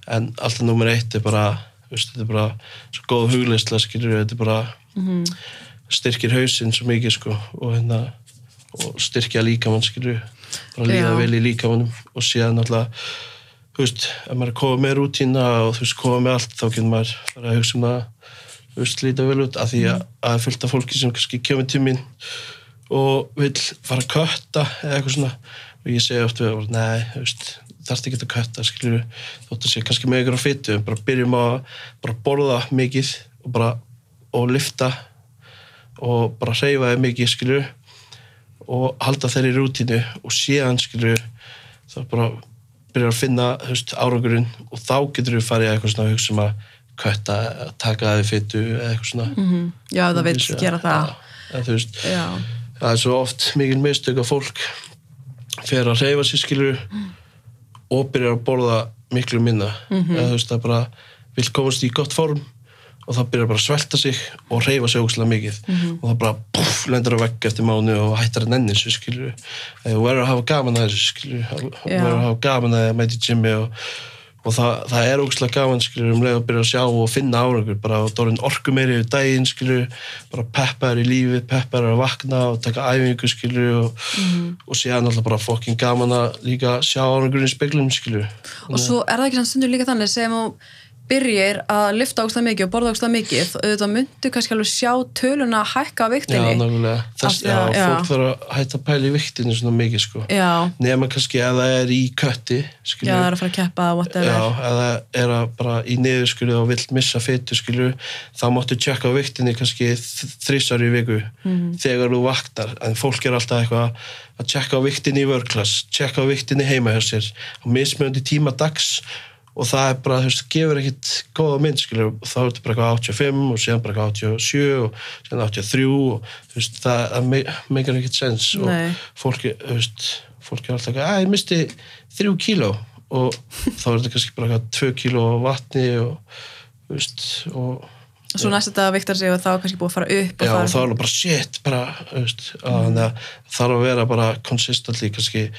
B: en alltaf nummer eitt er bara þú veist, þetta er bara svo góð hugleysla skilju, þetta er bara styrkir hausinn svo mikið sko og hérna og styrkja líkamann skilju bara líða
A: Já.
B: vel í líkamannum og síðan náttúrulega þú veist, ef maður er komið með rútína og þú veist, komið með allt þá getur maður bara að hugsa um það þú veist, líta vel út af því að það er fullt af fólki sem kannski kemur til mín og vill fara að kötta eða eitthvað svona og ég segi oft við, bara, nei, þú veist þarfst ekki að kötta, skilju þótt að sé kannski með ykkur á fytu, bara byrjum að bara borða mikið og bara og lyfta og bara hreyfa þig mikið, skilju og halda þeirri í rútínu og síðan skilur þá bara byrjar að finna þú veist, árangurinn og þá getur við farið að eitthvað svona hugsa um að kötta, að taka það í fytu eða eitthvað svona mm -hmm.
A: já, Mhm. það vil gera það
B: en, þú veist,
A: já,
B: það er svo oft mikil mistök að fólk fer að reyfa sér skilur og byrjar að borða miklu minna -hmm. eða þú veist, það bara vil komast í gott form og það byrjar bara að svelta sig og reyfa sig ógustlega mikið og það bara puff, lendur á vegg eftir mánu og hættar að nenni þessu skilur þú verður að hafa gaman að þessu skilur þú
A: Já.
B: verður að hafa gaman að því að mæti gymmi og, og það, það er ógustlega gaman skilur um leið að byrja að sjá og finna árangur bara að dórinn orku meiri yfir daginn skilur bara peppaður í lífi, peppaður að vakna og taka æfingu skilur og,
A: Mhm.
B: og séðan alltaf bara fokkin gaman að líka sjá árangurinn í speglum skilur
A: og svo er það ekki sann stundur líka þannig sem þú byrjir að lifta ógstlega mikið og borða ógstlega mikið auðvitað myndu kannski alveg sjá töluna að hækka á
B: Já,
A: viktinni
B: nákvæmlega. Þess,
A: Af því að-
B: já,
A: já.
B: fólk þarf að hætta að pæla í viktinu svona mikið, sko.
A: já,
B: Nefna kannski ef það er í kötti,
A: já,
B: skilju.
A: það er að fara að keppa
B: Já,
A: whatever,
B: ef það er að bara í niður, skilju, og vill missa fytu, skilju, þá máttu tjekka á viktinu kannski þrísar í viku þegar þú vaknar. En fólk er alltaf eitthvað að tjekka á viktinu í vörklass, tjekka á viktinu heima hjá sér, á mismjöndi tíma dags og það er bara, þú veist, gefur ekkit góða mynd, skilju, þá er þetta bara eitthvað 85 og síðan bara eitthvað 87 og síðan 83 og þú veist, það, það me- meikar ekkit sens og
A: Nei.
B: fólki, þú veist, fólki er alltaf eitthvað, að ég misti 3 kíló og þá er þetta kannski bara eitthvað 2 kíló af vatni og, þú veist, og
A: og svo næst þetta viktar sig og þá er kannski búið að fara upp
B: Já,
A: og
B: og þá
A: það
B: er það bara shit, bara, þú veist, að þannig að þarf að vera bara consistently, kannski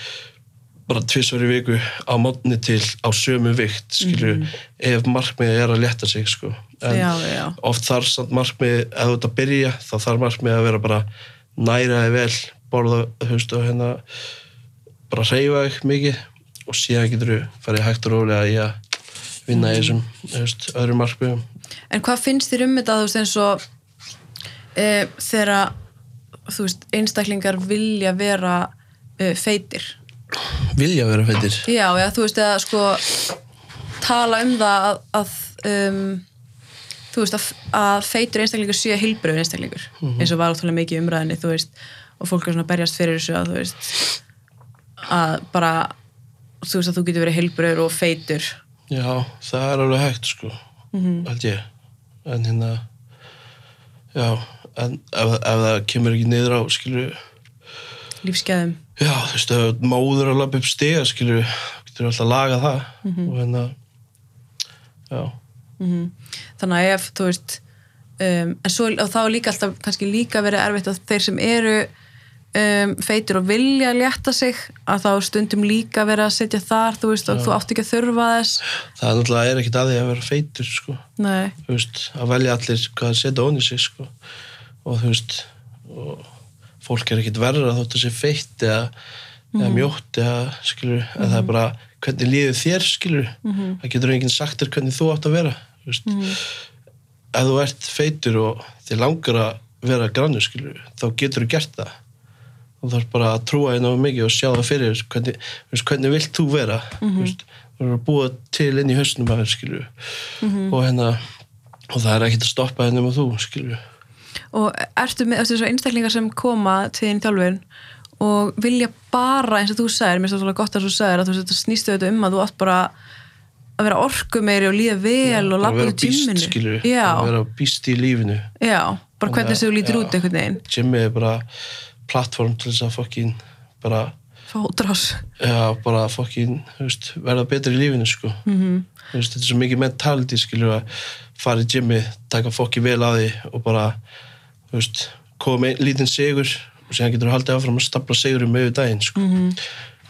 B: bara tvisvar í viku á mótni til á sömu vikt, skilju, ef markmiðið er að létta sig, sko. En
A: Mhm. Já, já.
B: oft þarf samt markmiðið, ef þú ert að byrja, þá þarf markmiðið að vera bara næraði vel, borða, þú veist, og hérna, bara reyfa þig mikið og síðan getur þú farið hægt og rólega í að vinna í þessum, þú veist, öðrum markmiðum.
A: En hvað finnst þér um þetta, þú veist, eins og e, þegar að, þú veist, einstaklingar vilja vera e, feitir?
B: Vilja vera feitir.
A: Já, já, þú veist, eða sko tala um það að, að um, þú veist, að, að feitur einstaklingur sé hilbröður einstaklingur eins og var ótrúlega mikið í umræðinni, þú veist og fólk er svona að berjast fyrir þessu að, þú veist að bara þú veist að þú getur verið hilbröður og feitur
B: Já, það er alveg hægt sko held ég en hérna já, en ef, ef það kemur ekki niður á skilur,
A: lífsgæðum
B: já, þú veist, ef þú ert móður að lappa upp stiga skilur, getur alltaf að laga það og hérna já,
A: Mhm. þannig að ef, þú veist um, en svo, og þá er líka alltaf kannski líka verið erfitt að þeir sem eru um, feitur og vilja létta sig að þá er stundum líka verið að setja þar, þú veist, og þú átt ekki að þurfa þess
B: það er náttúrulega er ekkit að því að vera feitur sko,
A: nei,
B: þú veist, að velja allir hvað að setja onni sig sko og þú veist og fólk er ekkit verra þótt að sé feitt eða, eða mjótt eða skilur, en það er bara hvernig líður þér skilur, það getur enginn sagt þér hvernig þú átt að vera þú veist ef þú ert feitur og þið langar að vera grannur skilur, þá getur þú gert það þú þarf bara að trúa þér náðu mikið og sjá það fyrir þér, hvernig, þú veist, hvernig vilt þú
A: Mhm. Mhm.
B: vera mm -hmm. þú veist, þú verður að búa til inn í hausnum að þér skilur og hérna og það er ekkert að stoppa hennum og þú, skilju
A: og ertu með eftir þessu einstaklingar sem koma til þín í þjálfun og vilja bara eins og þú sagðir, mér finnst það svolítið gott að þú sagðir að þú veist, þetta snýstu þetta um að þú átt bara að vera orku meiri og líða vel og
B: að
A: labba
B: vera
A: út í
B: býst,
A: tíminu
B: skilju
A: já,
B: að vera býst í lífinu
A: já, bara hvernig þessu lítur
B: Já.
A: út einhvern veginn,
B: Jimmy er bara plattform til þess að fokkin bara,
A: fá drás
B: já, bara fokkin, þú veist, verða betri í lífinu, sko -hmm. þú veist, þetta er svo mikið mentality, skilju að fara í Jimmy, taka fokki vel að því og bara, þú veist koma með einn lítinn sigur og síðan getur þú haldið áfram að stapla sigurum yfir daginn, sko -hmm.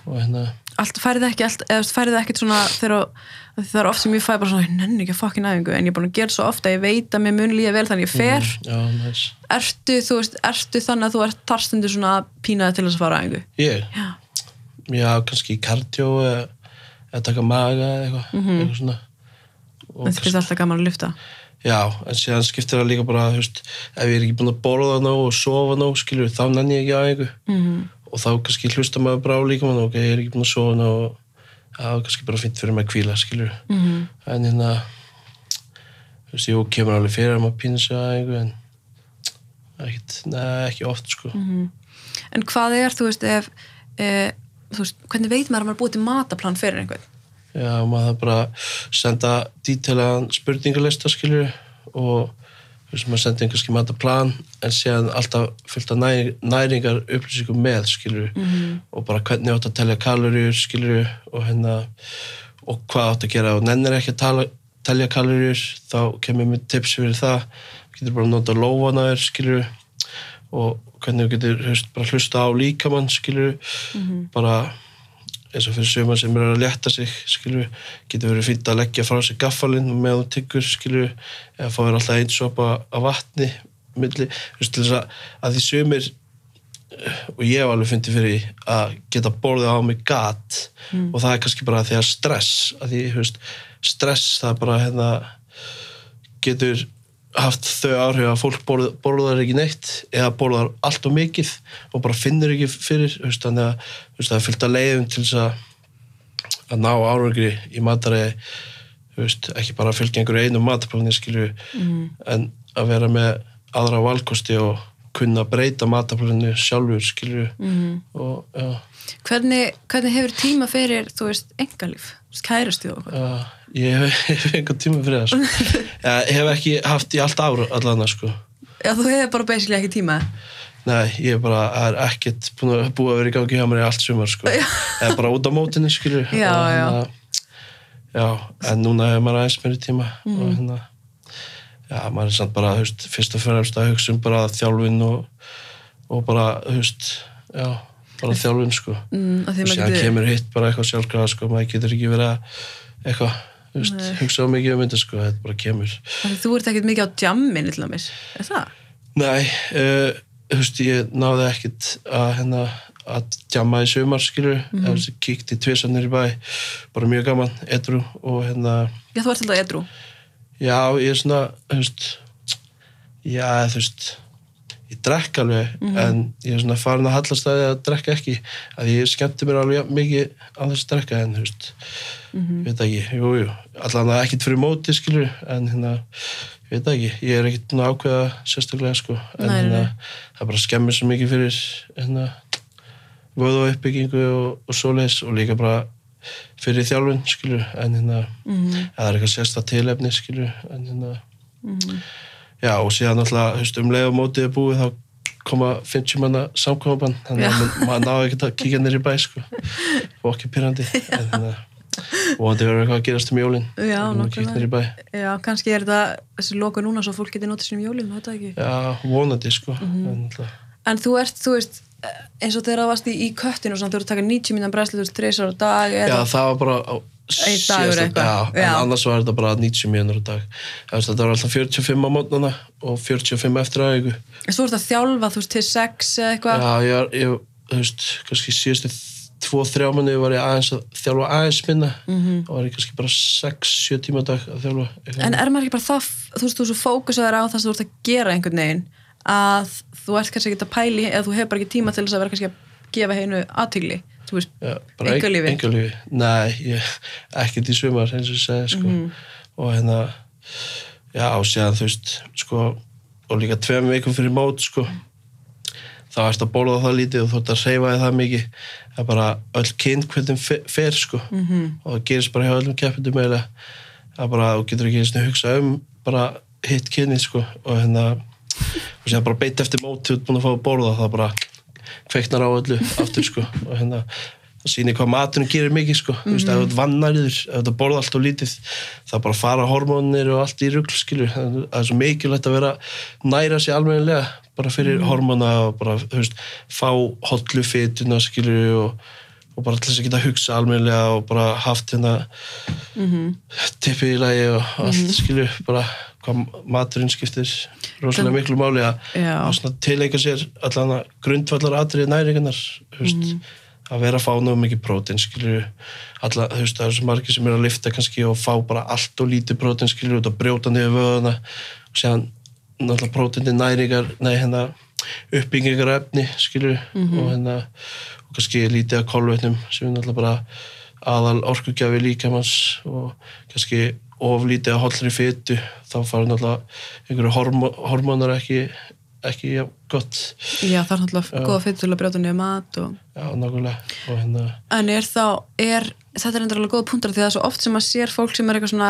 B: og hérna,
A: allt færið ekki, allt, eða þú veist, færið ekkert svona þegar af því það er oft sem ég fæ bara svona ég nenni ekki að fokkin aðingu en ég er búin að gera svo ofta að ég veit að mér mun líða vel þannig að ég fer
B: mm, já, næs
A: ertu, þú veist, ertu þannig að þú ert tarstundu svona pínaði til þess að fara aðingu
B: ég,
A: já,
B: já, kannski kardió eða, eða taka maga eða eitthvað, eitthvað svona og
A: en þú finnst alltaf gaman að lufta
B: Já, en síðan skiptir það líka bara, þú veist, ef ég er ekki búin að borða nóg og sofa nóg, skilur, þá nenn ég ekki á einhver. -hmm. Og þá kannski hlusta maður bara á líka maður, ok, ég er ekki búin að sofa nóg og það er kannski bara fint fyrir mig að hvíla, skilur. -hmm. En hérna, þú veist, jú, kemur alveg fyrir að maður pýna sig á einhver, en ekkit, neða, ekki oft, sko.
A: en hvað er, þú veist, ef e, þú veist, hvernig veit maður að maður er búið til mataplan fyrir einhvern
B: Já, maður þarf bara að senda dítilegan spurningalista, skilur og þú veist, maður sendir kannski mataplan en síðan alltaf fullt af næ, næringar upplýsingum með, skilur og bara hvernig átt að telja kaloríur, skilur og hérna og hvað átt að gera og nennir ekki að tala, telja kaloríur, þá kemur mér tips fyrir það, getur bara að nota lófanaður, skilur og hvernig þú getur þú veist, bara hlusta á líkamann, skilur bara eins og fyrir sögum sem eru að létta sig skilur, getur verið fínt að leggja frá sig gaffalinn með þú tyggur skilur, eða fá þér alltaf eins sopa af vatni milli, þú veist, til þess að, að því sögumir og ég hef alveg fundið fyrir því að geta borðið á mig gat og það er kannski bara því að stress að því, þú veist, stress það er bara hérna getur haft þau áhrif að fólk borð, borðar ekki neitt eða borðar allt og mikið og bara finnur ekki fyrir þú veist, þannig að þú veist, það er fyllt að leiðum til þess að, að ná árangri í mataræði þú veist, ekki bara að fylgja einhverju einum matapláni skilju, en að vera með aðra valkosti og kunna að breyta mataplánu sjálfur skilju mm. og já,
A: hvernig, hvernig hefur tíma fyrir, þú veist, engalíf kærastu og okkur
B: já, ég hef, hef [laughs] einhvern tíma fyrir það sko. ég hef ekki haft í allt ára allan sko.
A: já, þú hefur bara basically ekki tíma
B: Nei, ég er bara, það er ekkert búin að búið að vera í gangi hjá mér í allt sumar, sko. Eða bara út á mótinu, skilju.
A: [laughs] Já,
B: Og
A: já.
B: hérna- Já, en núna hefur maður aðeins meiri tíma
A: Mm.
B: og hérna, já, maður er samt bara, þú veist, fyrst og fremst að hugsa um bara þjálfin og, og bara, þú veist, já, bara þjálfin, sko.
A: mm, af því maður
B: Og síðan
A: getur-
B: kemur hitt bara eitthvað sjálfgráða, sko, maður getur ekki verið að, eitthvað, þú veist, hugsa á mikið um þetta, sko, þetta bara kemur.
A: af því þú ert ekkert mikið á djammin til dæmis, er það?
B: Nei, eh, þú veist, ég náði ekkit að hérna að djama í sumar, skilur mm -hmm. kíkti tvisannir í bæ, bara mjög gaman edru og hérna
A: já, þú ert alltaf edru
B: já, ég er svona, þú veist já, þú veist ég drekk alveg,
A: Mhm.
B: en ég er svona farin að hallast að ég að drekka ekki að ég skemmti mér alveg jafn mikið að þess að drekka en, þú veist,
A: Mhm.
B: ég veit ekki jú, jú, allan að ekkit fyrir móti skilur, en hérna ég veit það ekki, ég er ekkit búinn að ákveða sérstaklega, sko,
A: Nei,
B: en
A: nei,
B: hérna
A: nei.
B: það bara skemmir svo mikið fyrir hérna, vöðu og uppbyggingu og, og svoleiðis og líka bara fyrir þjálfun, skilur, en hérna
A: Mhm.
B: það er eitthvað sérsta tilefni, skilur en hérna
A: Mhm.
B: Já, og síðan alltaf, þú veist, um leið og mótið er búið þá koma 50 manna samkóðabann, þannig að mann- maður náði ekkert að kíkja nýri bæ,
A: [laughs]
B: sko og ekki pyrrandi, en þannig að vonandi verður eitthvað að gerast um jólin
A: Já,
B: nokkuð
A: nákvæmlega.
B: nýri bæ,
A: já, kannski er þetta þessi loku núna svo fólk getur notið um sínum jólum, þetta ekki
B: já, vonandi, sko
A: Mhm.
B: en alltaf,
A: En þú ert, þú veist, eins og þegar það varst í, í köttinu og svona, þú ert að taka 90 mínan bræslu, þú veist, þreysar á dag
B: já,
A: eða,
B: það var bara á
A: Einn dagur
B: síðasta-
A: eitthvað.
B: já,
A: Já.
B: en annars var þetta bara 90 mínur á dag Þú veist, þetta var alltaf 45 á mótnana og 45 eftir aðeigu
A: en þú ert að þjálfa, þú veist, til sex eða eitthvað.
B: Já, ég, ég, þú veist, kannski síðustu tvo, þrjá manni var ég aðeins að þjálfa aðeins minna
A: Mhm.
B: -hmm. og var ég kannski bara 6-7 tíma á dag að þjálfa eitthvað.
A: En er maður ekki bara það, þú veist, þú er svo fókusaður á það sem þú ert að gera einhvern veginn, að þú ert kannski ekki að pæli, eða þú hefur bara ekki tíma til þess að vera kannski að gefa heinu aðtigli, þú veist,
B: Já, bara ein-
A: einhverlífi.
B: einkalífi. Nei, ég, ekkert í sumar eins og ég segi sko. og hérna já, séðan þú veist, sko, og líka tveim vikum fyrir mót, sko, þá ertu að borða það lítið og þú ert að reyfa þig það mikið, það er bara öll kynnt hvernig fer, sko, -hmm. og það gerist bara hjá öllum keppindum eiginlega, það er bara, þú getur ekki einu sinni hugsað um bara hitt kynni, sko, og hérna, og séðan bara beitt eftir mót, þú ert búin að fá að borða það bara kveiknar á öllu aftur, sko, og hérna, það sýnir hvað maturinn gerir mikið, sko, þú veist, ef þú ert vannariður, ef þú borða allt og lítið, það bara fara hormónir og allt í rugl, skilur, það er svo mikilvægt að vera næra sér almennilega, bara fyrir hormóna og bara, þú veist, fá hotlu fytuna, skilur, og, og bara til þess að geta að hugsa almennilega og bara haft hérna tippið í lagi og allt, skilur, bara hvað maturinn skiptir rosalega
A: Þann-
B: miklu máli að
A: Já.
B: að svona tileika sér allan að grundvallar atriði næringarnar þú veist, að vera að fá náðu mikið prótein skilur, alla, þú veist, það eru svo margir sem eru að lifta kannski og fá bara allt og lítið prótein skilur út að brjóta niður vöðuna og séðan náttúrulega próteinni næringar, nei hérna uppbyggingar efni skilur og hérna og kannski lítið af kolvetnum sem er náttúrulega bara aðal orkugjafi líkamanns og kannski oflítið að hollri fytu þá fara náttúrulega einhverju hormó, hormónar ekki ekki jafn gott
A: Já, það er náttúrulega góða fyrir til að brjóta niður mat og...
B: já, nákvæmlega og hérna
A: En er þá, er, þetta er endur alveg góða punktar því það er svo oft sem maður sér fólk sem er eitthvað svona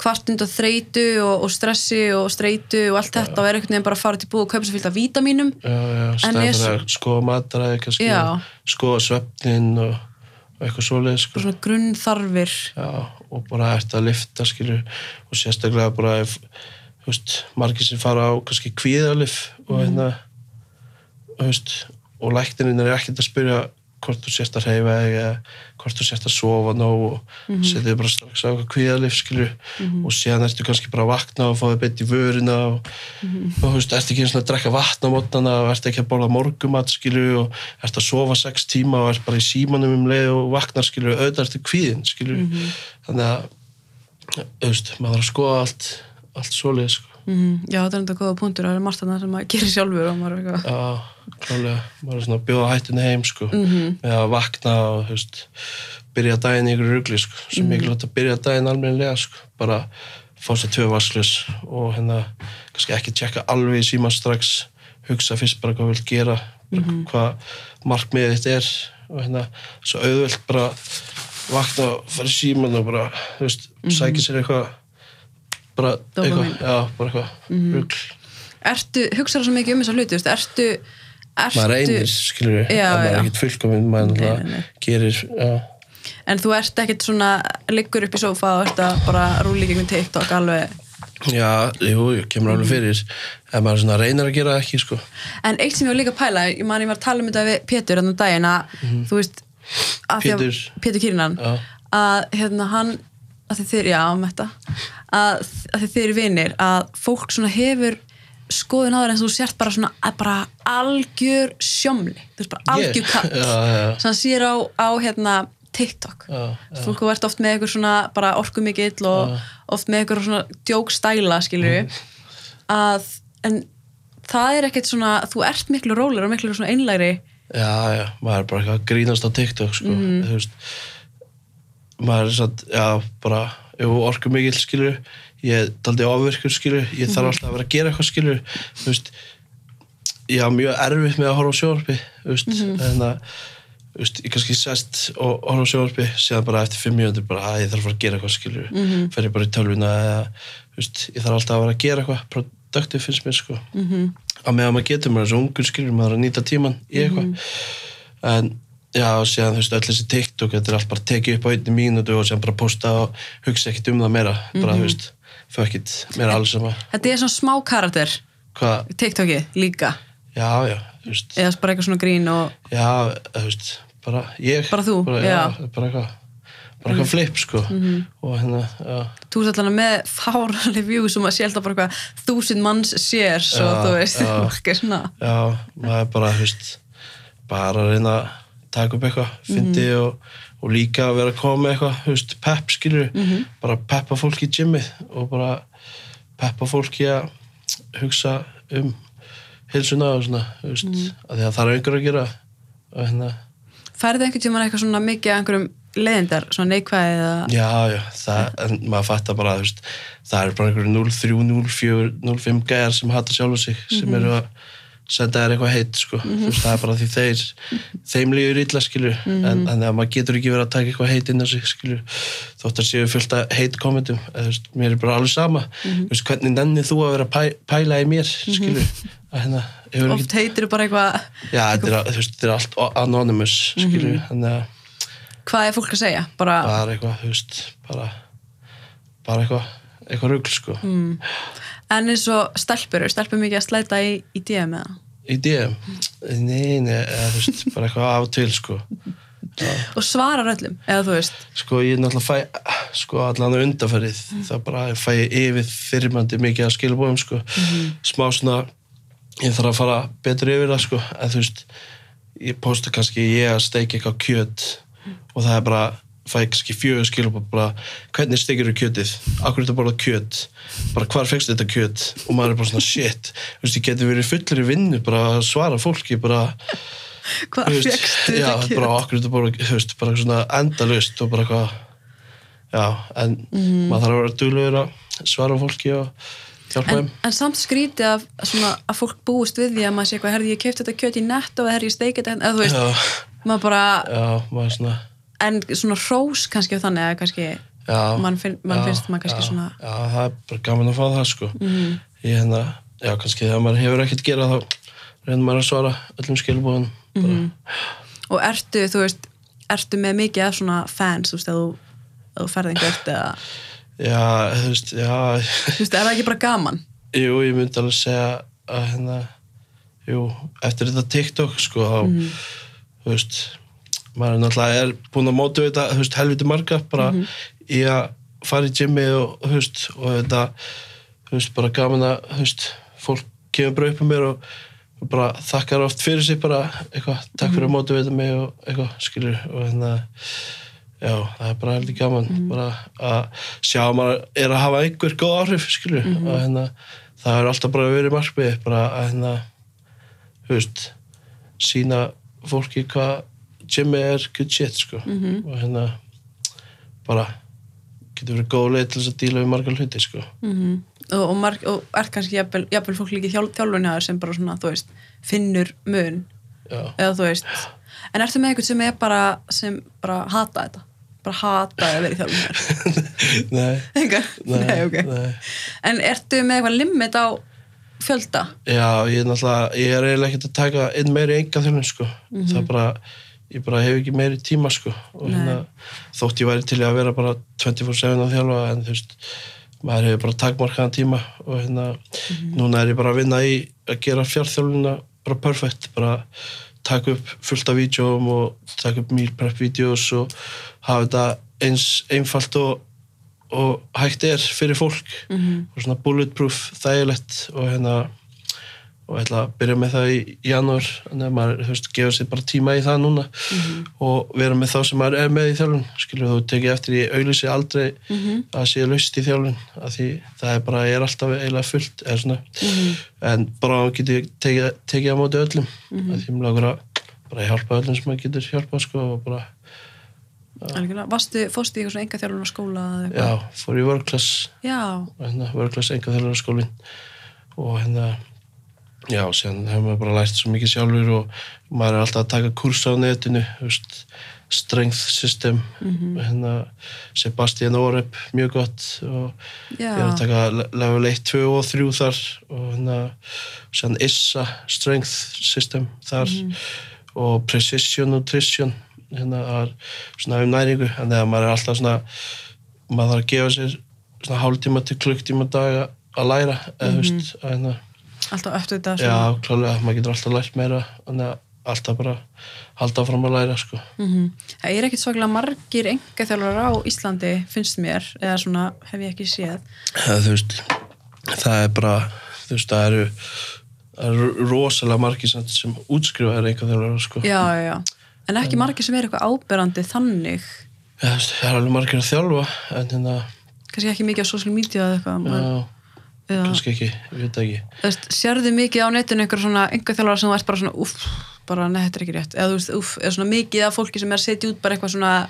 A: kvartund og þreytu og, og stressi og streitu og allt þetta og er einhvern veginn bara að fara til búið og kaupa sér fylgt af vítamínum
B: já, já,
A: En
B: stæður
A: er svo-
B: að skoða mataræði kannski
A: Já.
B: og skoða svefnin og, og eitthvað svoleiðis
A: og
B: sko.
A: svona grunnþarfir.
B: já, og bara ert að lifta skilur og sérstaklega bara ef, þú veist, margir sem fara á kannski kvíðalif
A: Mhm.
B: og hérna og, þú veist, og læknirinn er ekkert að spyrja hvort þú sérst að reyfa þig eða hvort þú sérst að sofa nóg og mm -hmm. setja þig bara strax á eitthvað kvíðalif skilur og séðan ertu kannski bara að vakna og fá þig beitt í vörina og, og þú veist, ertu ekki einu sinni að drekka vatn á mótnana og ertu ekki að borða morgumat skilur og ertu að sofa sex tíma og ert bara í símanum um leið og vaknar skilur auðvitað ertu kvíðin skilur þannig að, þú veist, maður þarf að skoða allt, allt svoleið sko.
A: Mm, já, þetta er endur góða punktur og það er margt þarna sem maður gerir sjálfur og maður er eitthvað.
B: Já, klálega, maður er svona að bjóða hættinu heim sko, -hmm. með að vakna og þú veist, byrja daginn í ykkur rugli sko, sem mm -hmm. mikilvægt að byrja daginn almennilega sko, bara fá sér tvö vasslis og hérna kannski ekki tjekka alveg í síma strax hugsa fyrst bara hvað þú vilt gera bara hvað markmiðið þitt er og hérna, svo auðvelt bara vakna og fara í síman og bara, þú veist, sækja sér eitthvað bara eitthvað,
A: Dópamin.
B: já, bara eitthvað rugl,
A: Ertu, hugsaðu svo mikið um þessa hluti, veist, ertu, ertu...
B: maður reynir skilur við,
A: Já,
B: maður
A: já.
B: er ekkert fullkominn maður
A: Nei,
B: náttúrulega
A: nei, nei.
B: gerir já,
A: En þú ert ekkert svona, liggur upp í sófa og ert að bara rúli gegnum TikTok alveg.
B: já, jú, jú, kemur
A: Mhm.
B: alveg fyrir en maður svona reynir að gera það ekki sko.
A: En eitt sem ég var líka að pæla, ég man ég var að tala um þetta við Pétur þannig daginn að, þú veist, að því að-
B: Mhm. Pétur.
A: Pétur Kýrinan,
B: Já.
A: að hérna hann, að þið þeir, já, metta, að, að þið þeir eru vinir, að fólk svona hefur skoðun áður en þú sért bara svona, að bara algjör sjómli, þú veist, bara algjör
B: Ég?
A: katt,
B: Já, já.
A: sem hann sér á, á hérna, TikTok.
B: Já, já.
A: Fólk verður oft með eitthvað svona bara orku mikill og oft með eitthvað svona djókstæla, skilur við
B: Mhm.
A: að en það er ekkert svona, þú ert miklu rólar og miklu svona einlægri
B: já, já, maður er bara eitthvað að grínast á TikTok sko. þú veist maður er satt, já, bara ef orku mikill skilur ég er daldi ofvirkur skilur, ég þarf alltaf að vera að gera eitthvað skilur, þú veist ég á mjög erfitt með að horfa á sjónvarpi þú veist, þannig að þú veist, ég kannski sest og horfa á sjónvarpi séðan bara eftir fimm mínútur bara að ég þarf að fara að gera eitthvað skilur, mm -hmm. fer ég bara í tölvuna eða, þú veist, ég þarf alltaf að vera að gera eitthvað productive finnst mér sko mm -hmm. að meðan maður getur, maður er svo ungur skilur maður er að nýta tíman í eitthvað en já, og séðan þú veist, öll þessi TikTok þetta er allt bara tekið upp á einni mínútu og séðan bara posta og hugsa ekkit um það meira bara,
A: Mhm.
B: þú veist, fuck it, mér er alls sama
A: þetta er svona smá karakter
B: hvað,
A: TikToki líka,
B: já, já, þú veist
A: eða bara eitthvað svona grín og
B: Já, þú veist, bara ég
A: Bara þú, já. Mm. Mhm.
B: Bara eitthvað bara eitthvað flip, sko og hérna, já,
A: þú ert allan með [laughs] fárali view sem að sé alltaf bara eitthvað þúsund manns sér svo
B: Já,
A: þú veist, [laughs]
B: já.
A: ekki svona
B: já maður er bara, þú veist bara að reyna að taka upp eitthvað fyndi og, og líka að vera að koma með eitthvað, þú veist, pepp skilur bara peppa fólk í gymmið og bara peppa fólk í að hugsa um heilsuna og svona, þú veist mm -hmm. að því að það er einhver að gera og hérna,
A: færði einhvern tímann eitthvað svona mikið að einhverjum leiðindar, svona neikvæði eða...
B: Já, já, það, en maður fattar bara þú veist, það eru bara einhverju 0-3, 0-4, 0-5 gæjar sem hata sjálfa sig sem eru að senda þér eitthvað heitt sko. þú veist, það er bara því þeir þeim líður illa, skilur en þannig að maður getur ekki verið að taka eitthvað heitt inn á sig skilur, þótt að séu fullt að heitt komendum, eða, þú veist, mér er bara alveg sama þú veist, hvernig nennið þú að vera að pæ, pæla í mér, skilur að hérna, hefur ekki
A: Oft heitir bara eitthvað,
B: já, þetta er, að- þú veist, þetta er allt o- anonymous, skilur þannig að
A: hvað er fólk að segja? Bara,
B: bara eitthvað, þú veist, bara, bara eitthvað, eitthvað rugl, sko,
A: en eins og stelpur, er stelpur mikið að slæta í, í DM eða?
B: í DM, nei, nei, eða, þú veist, bara eitthvað af og til, sko,
A: Og svarar öllum, eða þú veist,
B: sko, ég náttúrulega fæ, sko, allan undanfærið, það bara fæ ég yfir þyrmandi mikið að skilabóðum, sko, smá svona, ég þarf að fara betur yfir það, sko, en þú veist, ég posta kannski ég að steikja eitthvað kjöt og það er bara, fæ ég kannski fjögur skilabóð, bara, hvernig steikir þú kjötið? Akkur er þetta bara kjöt? Bara, hvar fegst þetta kjöt? Og maður er bara svona, shit, þú veist, ég geti verið fullur í vinnu, bara að svara fólki, bara,
A: hvað
B: Þú veist,
A: fegstu
B: já,
A: þetta kjöt?
B: bara okkur þetta bara, þú veist, bara svona endalaust og bara eitthvað já, en
A: Mhm.
B: maður þarf að vera duglegur að svara fólki og hjálpa
A: En,
B: þeim
A: en samt skrítið að, svona, að fólk búist við því að maður sé eitthvað, herði ég kefti þetta kjöt í netto eða herði ég steikið þetta, hérna," eða þú veist,
B: já,
A: maður bara,
B: já, maður er svona
A: en svona hrós kannski á þannig að kannski,
B: já,
A: mann finn, man
B: já,
A: finnst maður kannski
B: já,
A: svona, Mhm.
B: já, það er bara gaman að fá það sko ég hérna, já, kannski þegar maður hefur ekkert gera þá reynir maður að svara öllum skilbúðum
A: Mhm.
B: mm -hmm.
A: og ertu, þú veist, ertu með mikið af svona fans, þú veist, að þú, að þú ferði einhvert eða,
B: já, þú veist, já
A: þú veist, er það ekki bara gaman?
B: Jú, ég myndi alveg segja að hérna, jú, eftir þetta TikTok, sko, þá, þú veist, maður er náttúrulega er búin að móta þetta, þú veist, helviti marga, bara í að fara í gymmi og, þú veist, og þetta, þú veist, bara gaman að, þú veist, fólk kemur bara upp um mér og bara þakkar oft fyrir sig bara, eitthvað, takk fyrir að móta þetta mig og eitthvað, skilur, og hérna, Já, það er bara heldur gaman
A: Mhm.
B: bara að sjá að maður er að hafa einhver góð áhrif, skilju
A: Mhm.
B: og hérna, það er alltaf bara verið markmið bara að hérna þú veist, sína fólki hvað Jimmy er good shit, sko
A: Mhm.
B: og hérna bara getur verið góð leið til þess að díla við margar hluti, sko
A: Mhm. og, og, marg, og ert kannski jafnvel, jafnvel fólk líki þjálfunni aður sem bara svona, þú veist, finnur mun
B: Já. [laughs]
A: eða þú veist en ertu með einhvern sem er bara sem bara hata þetta bara hata að vera í þjálfunni
B: [laughs] Nei,
A: Engar? [laughs] Nei, ok
B: nei.
A: En ertu með eitthvað limit á fjölda?
B: Já, ég er náttúrulega, ég er eiginlega ekkert að taka einn meiri enga þjálfun, sko. Það er bara, ég bara hef ekki meiri tíma, sko. Og
A: Nei.
B: hérna, þótt ég væri til í að vera bara 24-7 að þjálfa, en þú veist, maður hefur bara takmarkaðan tíma og hérna, núna er ég bara að vinna í að gera fjárþjálfunina bara perfect, bara taka upp fullt af vídjóum og taka upp meal prep vídjós og hafa þetta eins einfalt og og hægt er fyrir fólk og svona bulletproof þægilegt og hérna og ætla að byrja með það í janúar þannig að maður, þú veist, gefa sér bara tíma í það núna og vera með þá sem maður er með í þjálfun, skilur þú tekið eftir ég auglýsi aldrei
A: Mhm.
B: að sé laust í þjálfun, að því það er bara er alltaf eiginlega fullt, eða svona en bara að geti tekið, tekið á móti öllum, mm -hmm. að því mér lagur að bara hjálpa öllum sem maður getur hjálpa sko, og bara,
A: Algjörlega. Varstu, fórstu í eitthvað svona enga þjálfun á skóla? eða eitthvað?
B: já, fór í work class
A: Já,
B: og hérna, vörglas enga þjálfarskólin og hérna já, síðan hefur maður bara lært svo mikið sjálfur og maður er alltaf að taka kursa á netinu, þú veist strength system hérna, Sebastian Oreb, mjög gott og
A: Já.
B: ég er að taka le- level 1, 2 og 3 þar og hérna, síðan ISSA strength system þar og precision nutrition hérna, það er svona um næringu en þegar maður er alltaf svona maður þarf að gefa sér svona hálftíma til klukktíma á dag að- að læra eða þú veist, að hérna
A: alltaf öftu þetta
B: já,
A: svona.
B: klálega, maður getur alltaf lært meira þannig að alltaf bara halda fram að læra sko.
A: Mhm. Það er ekkit svaklega margir enga á Íslandi, finnst mér eða svona hef ég ekki séð
B: eða, þú veist, það er bara þú veist, það eru það eru rosalega margir sem, sem útskrifa er einhvern veginn sko.
A: Já, já, já En ekki margir sem er eitthvað áberandi þannig
B: Já, þú veist, það er alveg margir að þjálfa en hérna,
A: kannski ekki mikið á social media eða eitthvað maður-
B: já,
A: eða-
B: kannski ekki ég veit það ekki
A: Þú veist, sérðu mikið á netinu einhver svona einhver þjálfara sem þú ert bara svona uff, bara nei, þetta er ekki rétt eða þú veist, uff, eða svona mikið af fólki sem er að setja út bara eitthvað svona